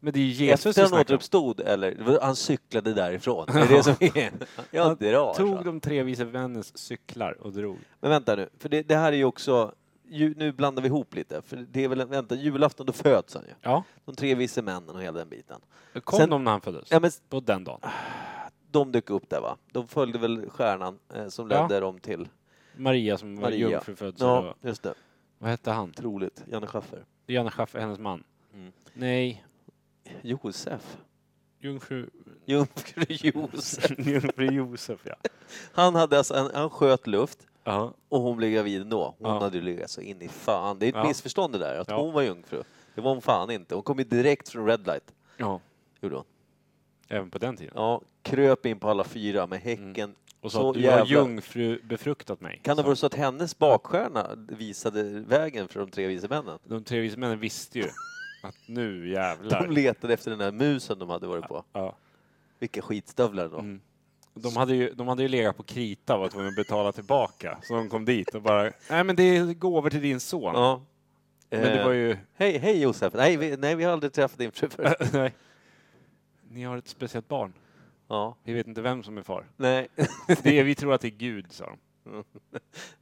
Speaker 2: Men det är ju
Speaker 1: Jesus
Speaker 2: Jesus
Speaker 1: Efter
Speaker 2: vi
Speaker 1: han
Speaker 2: snackar om.
Speaker 1: återuppstod, eller? Han cyklade därifrån. Det är det som är... alltså. Jag drar. så.
Speaker 2: Tog de tre vise männens cyklar och drog.
Speaker 1: Men vänta nu, för det, det här är ju också... Ju, nu blandar vi ihop lite, för det är väl... en- Vänta, julafton då föds han ju.
Speaker 2: Ja.
Speaker 1: De tre vise männen och hela den biten.
Speaker 2: Kom
Speaker 1: Sen-
Speaker 2: de när han föddes?
Speaker 1: Ja, men s-
Speaker 2: På den dagen?
Speaker 1: de dök upp där va? De följde väl stjärnan eh, som
Speaker 2: Ja.
Speaker 1: ledde dem till
Speaker 2: Maria som var
Speaker 1: Maria.
Speaker 2: jungfrufödd.
Speaker 1: Ja,
Speaker 2: Ja.
Speaker 1: just det.
Speaker 2: Vad hette han?
Speaker 1: Troligt. Janne Schaffer.
Speaker 2: Janne Schaffer, hennes man.
Speaker 1: Mm.
Speaker 2: Nej,
Speaker 1: Josef.
Speaker 2: jungfru...
Speaker 1: Jungfru Josef.
Speaker 2: jungfru Josef, ja.
Speaker 1: Han, hade alltså en, han sköt luft
Speaker 2: ja.
Speaker 1: och hon blev gravid ändå. Hon
Speaker 2: Ja.
Speaker 1: hade ju legat så in i fan. Det är ett
Speaker 2: Ja.
Speaker 1: missförstånd det där, att
Speaker 2: Ja.
Speaker 1: hon var jungfru. Det var hon fan inte. Hon kom ju direkt från Red Light.
Speaker 2: Ja,
Speaker 1: Gjorde hon.
Speaker 2: även på den tiden.
Speaker 1: Ja, kröp in på alla fyra med häcken.
Speaker 2: Mm. Och sa att du har jungfru befruktat mig.
Speaker 1: Kan det
Speaker 2: Så
Speaker 1: vara så att hennes bakstjärna visade vägen för de tre vise männen?
Speaker 2: De tre vise männen visste ju att nu jävlar.
Speaker 1: De letade efter den där musen de hade varit på.
Speaker 2: Ja. Mm.
Speaker 1: Vilka skitstövlar då.
Speaker 2: De hade, ju, de hade ju legat på krita och var tvungna att betala tillbaka. Så de kom dit och bara, nej men det är gåvor till din son.
Speaker 1: Ja. Eh,
Speaker 2: Men det var ju,
Speaker 1: Hej, hej Josef! Nej vi, nej, vi har aldrig träffat din fru förut.
Speaker 2: nej. Ni har ett speciellt barn.
Speaker 1: Ja,
Speaker 2: Vi vet inte vem som är far.
Speaker 1: nej.
Speaker 2: Det är, vi tror att det är Gud, sa de.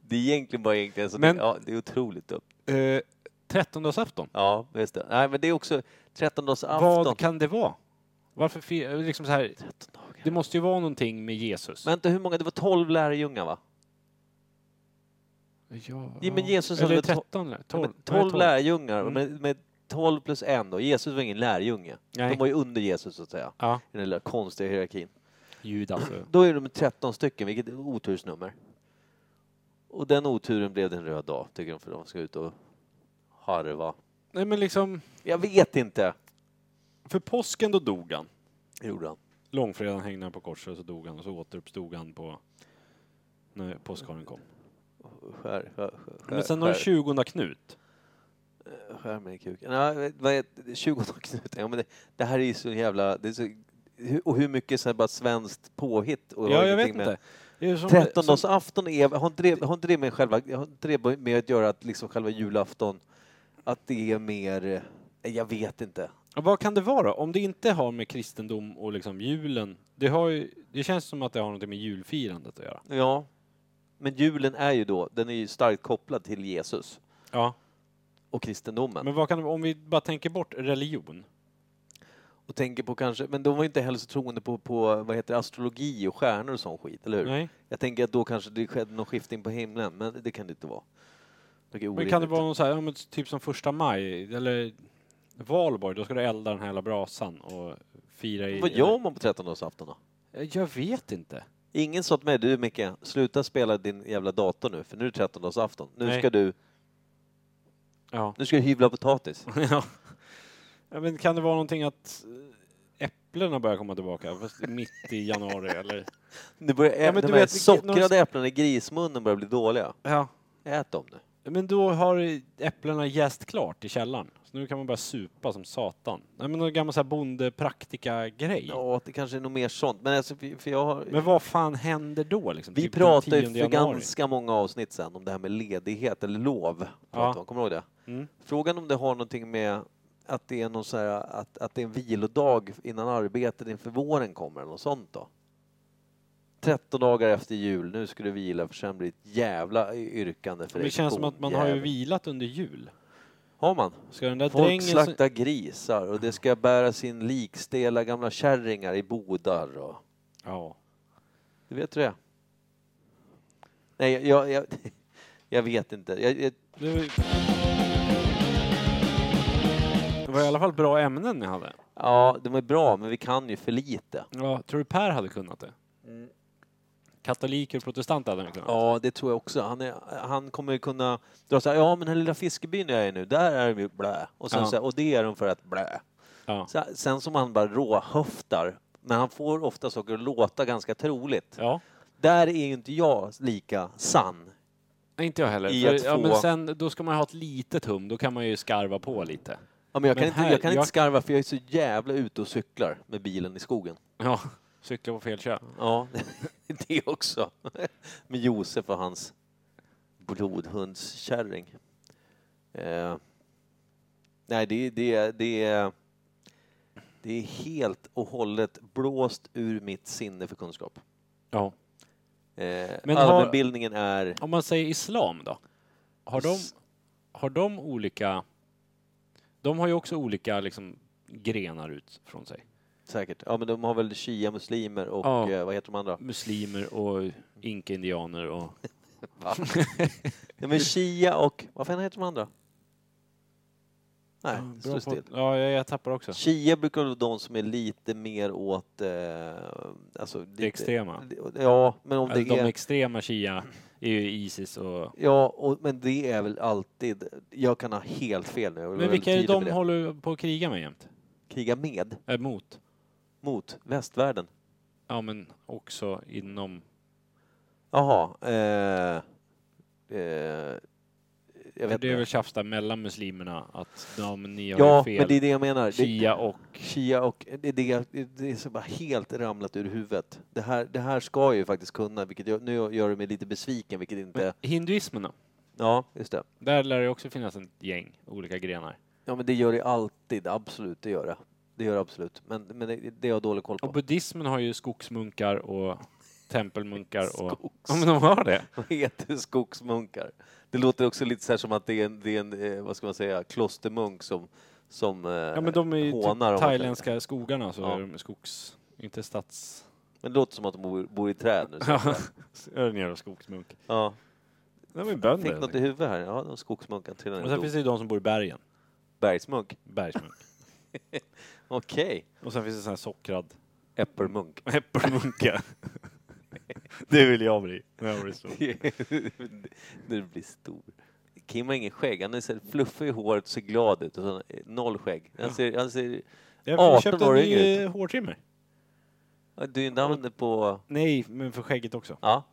Speaker 1: Det är egentligen bara egentligen så
Speaker 2: Men-
Speaker 1: det, ja, det är otroligt dumt.
Speaker 2: Eh, Trettondagsafton,
Speaker 1: Ja, just det. Nej, men det är också trettondagsafton.
Speaker 2: vad kan det vara? Varför fi- liksom så här, det måste ju vara någonting med Jesus.
Speaker 1: Vänta, hur många? Det var 12 lärjungar, va?
Speaker 2: ja,
Speaker 1: Ja, men Jesus
Speaker 2: Eller
Speaker 1: hade
Speaker 2: 13 lär- 12.
Speaker 1: Ja, men 12 lärjungar,
Speaker 2: Mm.
Speaker 1: med, med 12 plus en då. Jesus var ingen lärjunge.
Speaker 2: Nej.
Speaker 1: De var ju under Jesus, så att säga.
Speaker 2: Ja, alltså.
Speaker 1: I den lilla konstiga hierarkin.
Speaker 2: Judas.
Speaker 1: Då är de 13 stycken, vilket är otursnummer. Och den oturen blev det en röd dag, tycker de, för de ska ut och harva.
Speaker 2: Nej men liksom,
Speaker 1: Jag vet inte,
Speaker 2: för påsken då dog han.
Speaker 1: gjorde han.
Speaker 2: Långfredagen hängde han på korset och så dog han och så återuppstod han på när påskharen kom.
Speaker 1: Skär, skär, skär,
Speaker 2: Men sen har du 20 Knut.
Speaker 1: skär mig i kuken. Nej, vad är det? 20 Knut? Ja, men det, det här är ju så jävla... Det är så, hur- och hur mycket så här bara svenskt påhitt? Och har
Speaker 2: Ja, jag vet
Speaker 1: ingenting med-
Speaker 2: inte. Det är ju som- som-
Speaker 1: Trettondagansafton är, har inte det- har inte det med själva, har inte det med att göra att liksom själva julafton, att det är mer, eh, jag vet inte.
Speaker 2: Ja, Vad kan det vara Om det inte har med kristendom och liksom julen, det, har ju, det känns som att det har något med julfirandet att göra.
Speaker 1: Ja. Men julen är ju då, den är ju starkt kopplad till Jesus
Speaker 2: Ja.
Speaker 1: och kristendomen.
Speaker 2: Men vad kan, det- om vi bara tänker bort religion.
Speaker 1: Och tänker på kanske, men de var ju inte heller så troende på, på vad heter det, astrologi och stjärnor och sån skit, eller hur?
Speaker 2: Nej.
Speaker 1: Jag tänker att då kanske det skedde någon skiftning på himlen, men det kan det inte vara. Det är
Speaker 2: Men kan det
Speaker 1: orimligt.
Speaker 2: vara någon så här, ja, men typ som första maj, eller valborg, då ska du elda den här hela brasan och fira i...
Speaker 1: Vad gör man på trettondagansafton då?
Speaker 2: Jag vet inte.
Speaker 1: Ingen sa till mig, du Micke, sluta spela din jävla dator nu, för nu är det trettondagansafton. Nu
Speaker 2: Nej.
Speaker 1: ska du,
Speaker 2: Ja.
Speaker 1: nu ska du hyvla potatis.
Speaker 2: ja. Ja, Men kan det vara någonting att eh, äpplena börjar komma tillbaka, fast mitt i januari eller?
Speaker 1: Nu börjar,
Speaker 2: Ja, men
Speaker 1: de
Speaker 2: du
Speaker 1: här
Speaker 2: vet,
Speaker 1: sockrade
Speaker 2: någon-
Speaker 1: äpplena i grismunnen börjar bli dåliga.
Speaker 2: Ja.
Speaker 1: Ät dem nu.
Speaker 2: Men då har äpplena jäst klart i källaren. Så nu kan man börja supa som satan. Nej men någon gammal så här bondepraktika-grej.
Speaker 1: Ja, det kanske är något mer sånt. Men alltså, för för jag har...
Speaker 2: Men vad fan händer då liksom?
Speaker 1: vi
Speaker 2: Typ den
Speaker 1: pratade ju
Speaker 2: 10
Speaker 1: för
Speaker 2: januari.
Speaker 1: ganska många avsnitt sen om det här med ledighet eller lov. pratade vi om. Kommer du ihåg det?
Speaker 2: Mm.
Speaker 1: Frågan om det har någonting med att det är någon så här, att, att det är en vilodag innan arbetet inför våren kommer eller något sånt då? 13 dagar efter jul, nu ska du vila för sen blir det ett jävla yrkande för
Speaker 2: Men
Speaker 1: dig.
Speaker 2: det känns som att man har ju
Speaker 1: bondjävel.
Speaker 2: vilat under jul.
Speaker 1: Har man?
Speaker 2: Ska den där
Speaker 1: Folk
Speaker 2: drängen...
Speaker 1: slaktar grisar och det ska bäras in likstela gamla kärringar i bodar och...
Speaker 2: Ja.
Speaker 1: Du vet hur det är. Nej, jag... Jag, jag vet inte. Jag, jag,
Speaker 2: Det var... det var i alla fall bra ämnen ni hade.
Speaker 1: ja, de är bra, men vi kan ju för lite.
Speaker 2: Ja, tror du Per hade kunnat det? Katoliker och protestanter hade han kunnat.
Speaker 1: Ja, det tror jag också. Han, är, han kommer ju kunna dra så här, ja men den här lilla fiskebyn jag är i nu, där är de ju blä. Och, sen
Speaker 2: Ja.
Speaker 1: så här, och det är de för att blä.
Speaker 2: Ja.
Speaker 1: Så, här, sen som han bara råhöftar, men han får ofta saker att låta ganska troligt.
Speaker 2: ja.
Speaker 1: Där är ju inte jag lika sann.
Speaker 2: Nej, inte jag heller.
Speaker 1: I att
Speaker 2: För, ja,
Speaker 1: få-
Speaker 2: men sen, då ska man ju ha ett litet hum, då kan man ju skarva på lite.
Speaker 1: Ja, men jag
Speaker 2: Men
Speaker 1: kan,
Speaker 2: här-
Speaker 1: inte, jag kan
Speaker 2: jag-
Speaker 1: inte skarva för jag är så jävla ute och cyklar med bilen i skogen.
Speaker 2: Ja, cykla på fel kö.
Speaker 1: Ja, det också. Med Josef och hans blodhundskärring. Eh, nej, det, det, det, det är helt och hållet blåst ur mitt sinne för kunskap.
Speaker 2: Ja.
Speaker 1: Eh,
Speaker 2: Men har-
Speaker 1: allmänbildningen är...
Speaker 2: Om man säger islam då? Har de,
Speaker 1: S-
Speaker 2: har de olika... De har ju också olika liksom, grenar ut från sig.
Speaker 1: Säkert. Ja, men de har väl shia-muslimer och
Speaker 2: Ja.
Speaker 1: eh, vad heter de andra?
Speaker 2: Muslimer och inka-indianer och...
Speaker 1: Ja, men shia och... Vad fan heter de andra? Nej,
Speaker 2: Ja,
Speaker 1: det
Speaker 2: bra
Speaker 1: står
Speaker 2: på,
Speaker 1: still.
Speaker 2: ja, jag, jag tappar också.
Speaker 1: Shia brukar vara de som är lite mer åt... Eh, alltså, lite,
Speaker 2: extrema.
Speaker 1: Ja, men om det
Speaker 2: Alltså, de
Speaker 1: är...
Speaker 2: extrema shia är ju Isis och...
Speaker 1: Ja, och, men det är väl alltid... Jag kan ha helt fel nu. jag vill
Speaker 2: Men
Speaker 1: vara
Speaker 2: vilka är det
Speaker 1: väldigt tydlig
Speaker 2: de
Speaker 1: med
Speaker 2: håller på att kriga med jämt?
Speaker 1: Kriga med,
Speaker 2: Äh, mot?
Speaker 1: mot västvärlden.
Speaker 2: Ja, men också inom...
Speaker 1: Jaha. Eh, eh, jag
Speaker 2: För
Speaker 1: vet
Speaker 2: det är väl
Speaker 1: inte.
Speaker 2: tjafs där mellan muslimerna att ja, men ni har
Speaker 1: Ja,
Speaker 2: ju fel.
Speaker 1: men det är det jag menar. Det,
Speaker 2: Shia och...
Speaker 1: Shia och det, är det, det är så bara helt ramlat ur huvudet. Det här, det här ska jag ju faktiskt kunna, vilket jag, nu gör det mig lite besviken, vilket inte...
Speaker 2: Hinduismen då?
Speaker 1: Ja, just det.
Speaker 2: Där lär det också finnas ett gäng olika grenar.
Speaker 1: Ja, men det gör det alltid. Absolut, det gör det. Det gör det absolut. Men, men det, det har jag dålig koll
Speaker 2: Och
Speaker 1: på.
Speaker 2: buddhismen har ju skogsmunkar och tempelmunkar och...
Speaker 1: Skogs-
Speaker 2: Ja, men de har det.
Speaker 1: Vad heter skogsmunkar? Det låter också lite så här som att det är en, det är en eh, vad ska man säga, klostermunk som, som eh,
Speaker 2: Ja, men de är ju
Speaker 1: hånar. om man
Speaker 2: typ
Speaker 1: säger.
Speaker 2: thailändska skogarna, så
Speaker 1: Ja.
Speaker 2: är de skogs... Inte stads...
Speaker 1: Men det låter som att de bor, bor i träd nu. Så.
Speaker 2: Ja, så är det en jävla skogsmunk.
Speaker 1: Ja.
Speaker 2: De är ju bönder.
Speaker 1: Fick
Speaker 2: helt
Speaker 1: något i
Speaker 2: enkelt.
Speaker 1: huvudet här. Ja, de skogsmunkarna trillade ner
Speaker 2: Och
Speaker 1: och
Speaker 2: sen
Speaker 1: dog.
Speaker 2: finns det ju de som bor i bergen.
Speaker 1: Bergsmunk.
Speaker 2: Bergsmunk.
Speaker 1: Okej.
Speaker 2: Och sen finns det sån här sockrad
Speaker 1: Äppelmunk.
Speaker 2: äppelmunka. det vill jag bli. när jag blir stor.
Speaker 1: När du blir stor. Kim har ingen skägg. Han är så här fluffig i håret och ser glad ut. Och så, eh, noll skägg. Han ser... Han ser
Speaker 2: Jag
Speaker 1: 18
Speaker 2: köpte en
Speaker 1: år
Speaker 2: ny
Speaker 1: yngre
Speaker 2: eh, hårtrimmer.
Speaker 1: ja, du är inte använder på...
Speaker 2: Nej, men för skägget också.
Speaker 1: Ja.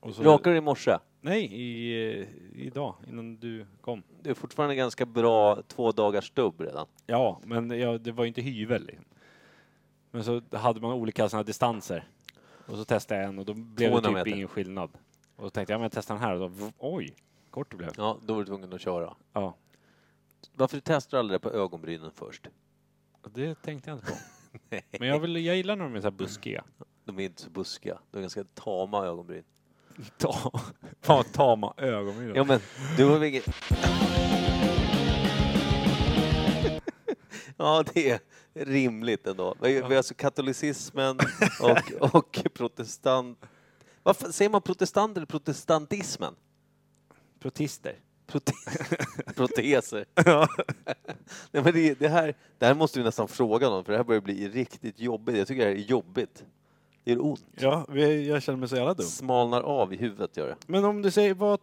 Speaker 2: Och så,
Speaker 1: Rakade du i morse?
Speaker 2: Nej, i, eh, idag, innan du kom.
Speaker 1: Du är fortfarande ganska bra två dagars stubb redan.
Speaker 2: Ja, men jag, det var ju inte hyvel. Liksom. Men så hade man olika sådana distanser. Och så testade jag en och då blev det
Speaker 1: 200
Speaker 2: typ
Speaker 1: meter.
Speaker 2: ingen skillnad. Och så tänkte jag, ja, men jag testar den här och då, v- oj, kort det blev.
Speaker 1: Ja, då var du tvungen att köra.
Speaker 2: Ja,
Speaker 1: Varför testar du aldrig det på ögonbrynen först?
Speaker 2: det tänkte jag inte på. men jag, vill, jag gillar när de är så här buskiga.
Speaker 1: De är inte så buskiga. De är ganska tama ögonbryn.
Speaker 2: Ta, fan vad tama ögonbryn.
Speaker 1: Ja men, du har vilket... Ja, det är rimligt ändå. Vi vi har alltså katolicismen och, och protestant... Varför säger man protestant eller protestantismen?
Speaker 2: Protister.
Speaker 1: Prote- proteser. Nej, men det, det, här, det här måste vi nästan fråga någon för det här börjar bli riktigt jobbigt. Jag tycker det här är jobbigt. Det gör ont.
Speaker 2: Ja, vi- jag känner mig så jävla dum.
Speaker 1: Smalnar av i huvudet gör det.
Speaker 2: Men om du säger vad...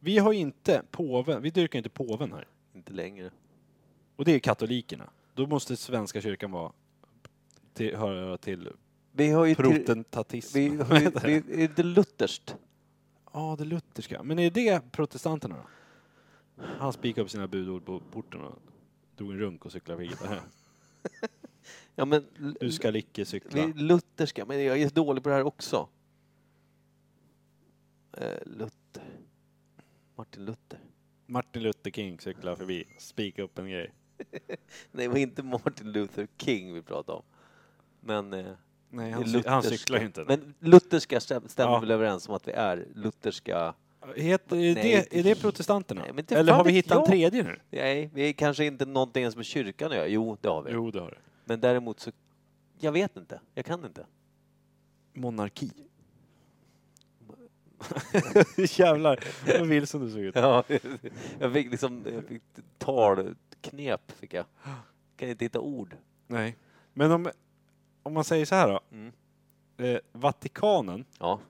Speaker 2: Vi har ju inte påven, vi dyrkar inte påven här.
Speaker 1: Inte längre.
Speaker 2: Och det är katolikerna. Då måste Svenska kyrkan vara till, höra till
Speaker 1: Vi har ju... till-
Speaker 2: protentatism.
Speaker 1: Vi, har ju- vi, är det lutherskt?
Speaker 2: Ja, det lutherska. Men är det protestanterna då? Han spikade upp sina budord på porten och drog en runk och cyklade vidare.
Speaker 1: Ja, men l-
Speaker 2: Du ska icke
Speaker 1: vi är
Speaker 2: cykla.
Speaker 1: lutherska, men jag är dålig på det här också. Eh, Luther. Martin Luther.
Speaker 2: Martin Luther King cyklar förbi, spika upp en grej.
Speaker 1: Nej, det var inte Martin Luther King vi pratade om. Men... Eh,
Speaker 2: Nej,
Speaker 1: det
Speaker 2: han,
Speaker 1: är
Speaker 2: cy- han
Speaker 1: lutherska.
Speaker 2: cyklar ju inte.
Speaker 1: Men lutherska stäm- stämmer
Speaker 2: Ja.
Speaker 1: väl överens om att vi är lutherska?
Speaker 2: Heter, är,
Speaker 1: Nej.
Speaker 2: det, är det protestanterna?
Speaker 1: Nej, men inte
Speaker 2: Eller
Speaker 1: fan
Speaker 2: har vi
Speaker 1: vet
Speaker 2: hittat en
Speaker 1: jag.
Speaker 2: tredje nu?
Speaker 1: Nej, vi är kanske inte någonting ens med kyrkan att göra. Jo, det har vi.
Speaker 2: Jo, det har det.
Speaker 1: Men däremot så... Jag vet inte. Jag kan inte.
Speaker 2: Monarki. Jävlar, vad vilsen du såg ut.
Speaker 1: Ja, jag fick liksom jag fick talknep. Fick jag. Kan inte hitta ord.
Speaker 2: Nej. Men om, om man säger så här då.
Speaker 1: Mm.
Speaker 2: Eh, Vatikanen,
Speaker 1: Ja.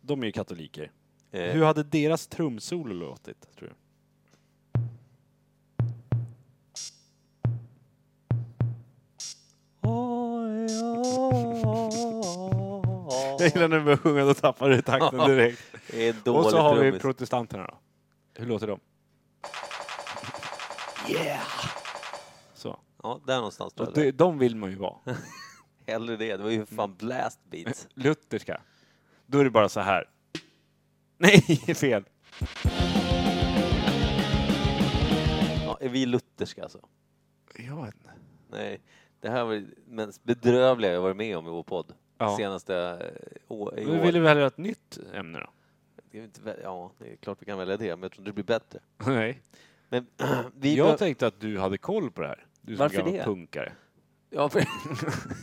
Speaker 2: de är ju katoliker.
Speaker 1: Eh,
Speaker 2: Hur hade deras trumsolo låtit, tror du? Jag gillar när du börjar sjunga, då tappar du takten direkt.
Speaker 1: Det är
Speaker 2: Och så har vi
Speaker 1: dåligt trummis.
Speaker 2: protestanterna då. Hur låter de? Yeah! Så.
Speaker 1: Ja, där någonstans tror
Speaker 2: Och
Speaker 1: jag
Speaker 2: de,
Speaker 1: det.
Speaker 2: de vill man ju vara.
Speaker 1: Hellre det. Det var ju
Speaker 2: Mm.
Speaker 1: fan blast beats.
Speaker 2: Lutherska. Då är det bara så här. Nej, fel.
Speaker 1: Ja, är vi lutherska alltså?
Speaker 2: Jag vet inte.
Speaker 1: Nej, det här var det mest bedrövliga jag varit med om i vår podd.
Speaker 2: Ja.
Speaker 1: Senaste eh, å, i
Speaker 2: Vi
Speaker 1: år.
Speaker 2: vill välja ett nytt ämne då.
Speaker 1: Det är inte väl- Ja, det är klart vi kan välja det, men jag tror inte det blir bättre.
Speaker 2: Nej.
Speaker 1: Men vi...
Speaker 2: Jag
Speaker 1: bör-
Speaker 2: tänkte att du hade koll på det här. Du som
Speaker 1: Varför
Speaker 2: gammal
Speaker 1: det?
Speaker 2: punkare.
Speaker 1: ja, för...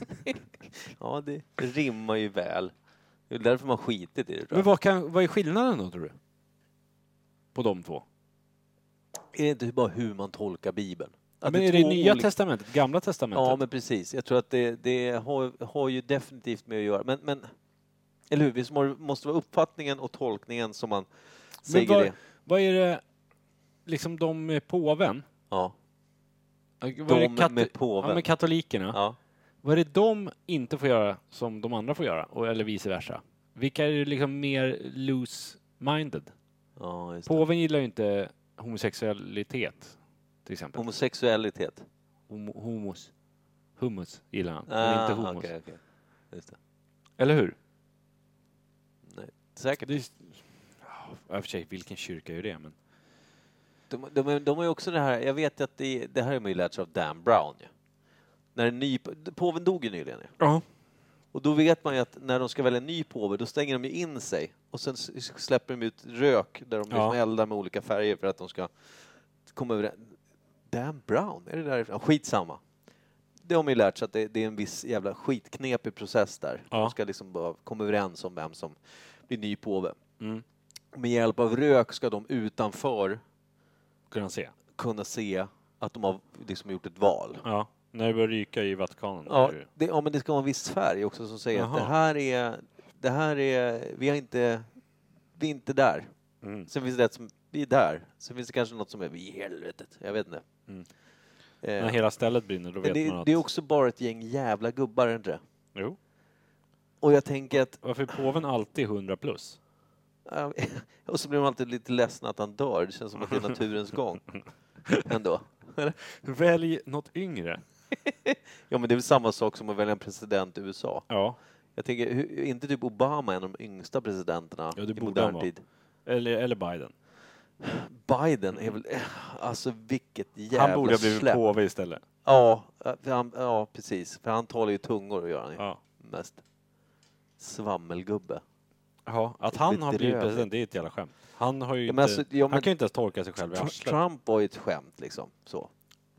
Speaker 1: ja, det rimmar ju väl. Det är därför man skitit i det, tror
Speaker 2: Men
Speaker 1: jag.
Speaker 2: vad, kan, vad är skillnaden då, tror du? På de två?
Speaker 1: Är det inte bara hur man tolkar Bibeln? Att
Speaker 2: men är
Speaker 1: är
Speaker 2: det
Speaker 1: två
Speaker 2: nya
Speaker 1: olika-
Speaker 2: testamentet? Gamla testamentet?
Speaker 1: Ja, men precis. Jag tror att det, det har, har ju definitivt med att göra. Men, men eller hur? Visst må- måste vara uppfattningen och tolkningen som man säger
Speaker 2: vad,
Speaker 1: det.
Speaker 2: vad är det, liksom de med påven?
Speaker 1: Ja.
Speaker 2: Vad är
Speaker 1: De
Speaker 2: det kat-
Speaker 1: med påven.
Speaker 2: Ja, med katolikerna.
Speaker 1: ja.
Speaker 2: Vad är det de inte får göra som de andra får göra? Och, eller vice versa? Vilka är liksom mer loose-minded?
Speaker 1: Ja, just det.
Speaker 2: Påven gillar ju inte homosexualitet, till exempel.
Speaker 1: Homosexualitet.
Speaker 2: Homo- homos. Hummus gillar han, men
Speaker 1: Ah,
Speaker 2: inte homos.
Speaker 1: okej, okej. Just det.
Speaker 2: Eller hur?
Speaker 1: Nej. Säkert.
Speaker 2: Det är... Ja, i och för sig, vilken kyrka är det? Men...
Speaker 1: De, de, är- de har ju också det här, jag vet att det, det här har man ju lärt sig av Dan Brown ju. När en ny, påven dog ju nyligen ju.
Speaker 2: Ja.
Speaker 1: Och då vet man ju att när de ska välja en ny påve då stänger de ju in sig och sen s- släpper de ut rök där de liksom
Speaker 2: Ja.
Speaker 1: eldar med olika färger för att de ska komma över Dan Brown, är det därifrån? Skitsamma. det har man ju lärt sig att det, det är en viss jävla skitknepig process där.
Speaker 2: Ja.
Speaker 1: Man ska liksom bara komma överens om vem som blir ny påve.
Speaker 2: Mm.
Speaker 1: Med hjälp av rök ska de utanför
Speaker 2: Kunna se.
Speaker 1: kunna se att de har liksom gjort ett val.
Speaker 2: Ja. När det börjar ryka i Vatikanen.
Speaker 1: Ja,
Speaker 2: är det-
Speaker 1: det, ja men det ska vara en viss färg också som säger
Speaker 2: Jaha.
Speaker 1: att det här är, det här är, vi har inte, vi är inte där.
Speaker 2: Mm.
Speaker 1: Sen finns det ett som, vi är där. Sen finns det kanske något som är, vi i helvetet, jag vet inte.
Speaker 2: Mm.
Speaker 1: Eh,
Speaker 2: När hela stället brinner då
Speaker 1: men
Speaker 2: vet
Speaker 1: det,
Speaker 2: man att...
Speaker 1: det är också bara ett gäng jävla gubbar, är det inte det?
Speaker 2: Jo.
Speaker 1: Och jag tänker att,
Speaker 2: Varför är påven alltid 100 plus?
Speaker 1: ja, och så blir man alltid lite ledsen att han dör, det känns som att det är naturens gång. Ändå.
Speaker 2: Välj något yngre.
Speaker 1: Ja men det är väl samma sak som att välja en president i USA.
Speaker 2: Ja.
Speaker 1: Jag tänker, hur, är inte typ Obama en av de yngsta presidenterna
Speaker 2: Ja, det
Speaker 1: i
Speaker 2: borde
Speaker 1: modern
Speaker 2: han vara.
Speaker 1: tid?
Speaker 2: Eller, eller Biden.
Speaker 1: Biden är väl... Alltså vilket jävla
Speaker 2: Han borde ha blivit
Speaker 1: släpp.
Speaker 2: påve istället.
Speaker 1: Ja, eh, för han, ja, precis. För han talar ju tungor och gör han ju
Speaker 2: Ja.
Speaker 1: mest. Svammelgubbe.
Speaker 2: Ja, att han har blivit
Speaker 1: bedrövligt.
Speaker 2: president, det är ett jävla skämt. Han, har ju
Speaker 1: Ja,
Speaker 2: inte,
Speaker 1: men alltså, ja,
Speaker 2: han
Speaker 1: men-
Speaker 2: kan ju inte ens torka sig själv i
Speaker 1: Tr-
Speaker 2: arslet.
Speaker 1: Trump var ju ett skämt liksom. Så.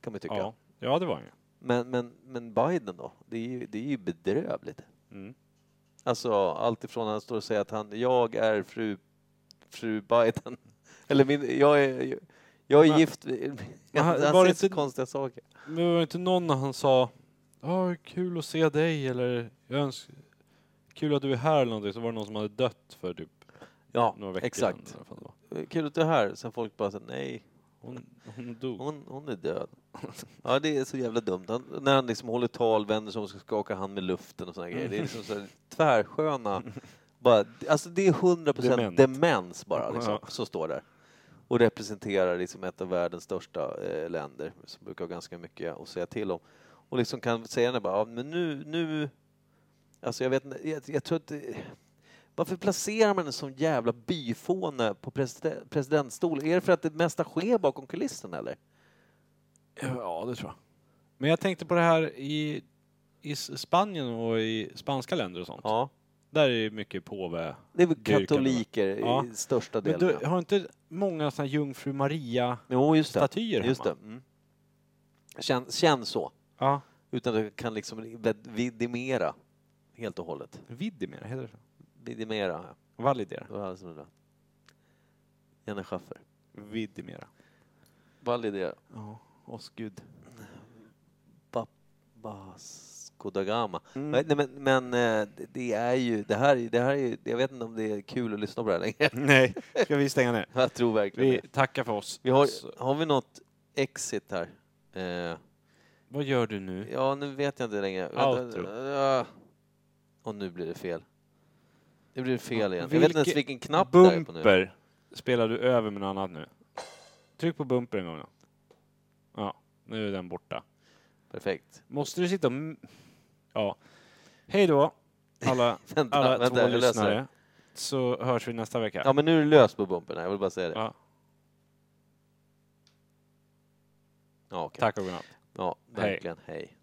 Speaker 1: Kan man ju tycka.
Speaker 2: Ja. ja, det var han ju.
Speaker 1: Men, men, men Biden då? Det är ju, det är ju bedrövligt.
Speaker 2: Mm.
Speaker 1: Alltså allt ifrån han står och säger att han, jag är fru, fru Biden. Eller min, jag är, jag är
Speaker 2: Men-
Speaker 1: gift.
Speaker 2: Men
Speaker 1: han
Speaker 2: han-
Speaker 1: han
Speaker 2: var
Speaker 1: säger
Speaker 2: det
Speaker 1: så
Speaker 2: inte-
Speaker 1: konstiga saker.
Speaker 2: Men det var inte någon när han sa Ja, kul att se dig eller jag öns- kul att du är här eller någonting. Så var det någon som hade dött för typ
Speaker 1: Ja,
Speaker 2: några veckor
Speaker 1: exakt.
Speaker 2: sedan. eller vad fan det var.
Speaker 1: Kul att du är här. Sen folk bara säger nej.
Speaker 2: Hon, hon dog.
Speaker 1: Hon, hon är död. Ja, det är så jävla dumt. Han, när han liksom håller tal, vänder sig om och ska skaka hand med luften och såna grejer. Det är liksom så här tvärsköna... Bara, alltså det är 100%
Speaker 2: Dement.
Speaker 1: demens, bara, liksom,
Speaker 2: Ja.
Speaker 1: som står där. Och representerar liksom ett av världens största eh, länder, som brukar ha ganska mycket att säga till om. Och liksom kan säga det bara, ja, men nu, nu... Alltså jag vet inte, jag, jag tror att... det- Varför placerar man en sån jävla byfåne på presiden- presidentstolen? Är det för att det mesta sker bakom kulissen eller?
Speaker 2: Ja, det tror jag. Men jag tänkte på det här i, i S- Spanien och i spanska länder och sånt.
Speaker 1: Ja.
Speaker 2: Där är ju mycket påve.
Speaker 1: Det är väl
Speaker 2: Dyrkan,
Speaker 1: katoliker i
Speaker 2: Ja.
Speaker 1: största
Speaker 2: Men
Speaker 1: delen.
Speaker 2: du,
Speaker 1: ja.
Speaker 2: har inte många såna här Jungfru Maria
Speaker 1: Jo, just det.
Speaker 2: statyer
Speaker 1: Just det.
Speaker 2: hemma?
Speaker 1: Mm. Känn, känn så,
Speaker 2: Ja.
Speaker 1: utan att du kan liksom ved- vidimera helt och hållet.
Speaker 2: Vidimera, heter det så?
Speaker 1: Vidimera, ja.
Speaker 2: Validera.
Speaker 1: Det var alltså det där. Janne Schaffer.
Speaker 2: Vidimera.
Speaker 1: Validera.
Speaker 2: Ja, oss gud.
Speaker 1: Vasco da Gama. Nej, nej, men, men eh, det- det är ju, det här, är- det här är ju, jag vet inte om det är kul att lyssna på det här längre.
Speaker 2: Nej, ska vi stänga ner?
Speaker 1: Jag tror verkligen
Speaker 2: Vi
Speaker 1: det.
Speaker 2: tackar för oss.
Speaker 1: Vi har,
Speaker 2: Så-
Speaker 1: har vi något exit här? Eh,
Speaker 2: vad gör du nu?
Speaker 1: Ja, nu vet jag inte längre.
Speaker 2: Outro.
Speaker 1: Vänta. Och nu blir det fel. Nu blir det fel igen. Jag vet
Speaker 2: Vilke-
Speaker 1: inte ens vilken knapp det är på nu.
Speaker 2: Bumper spelar du över med något annat nu. Tryck på bumper en gång då. Ja, nu är den borta.
Speaker 1: Perfekt.
Speaker 2: Måste du sitta och... m- Ja. Hej då, alla,
Speaker 1: Vänta,
Speaker 2: alla
Speaker 1: vänta,
Speaker 2: två
Speaker 1: jag löser
Speaker 2: lyssnare.
Speaker 1: det.
Speaker 2: Så hörs vi nästa vecka.
Speaker 1: Ja, men nu är det löst på bumpen. här. Jag vill bara säga det.
Speaker 2: Ja.
Speaker 1: Ja, okej.
Speaker 2: Tack och godnatt.
Speaker 1: Ja, verkligen. Hej.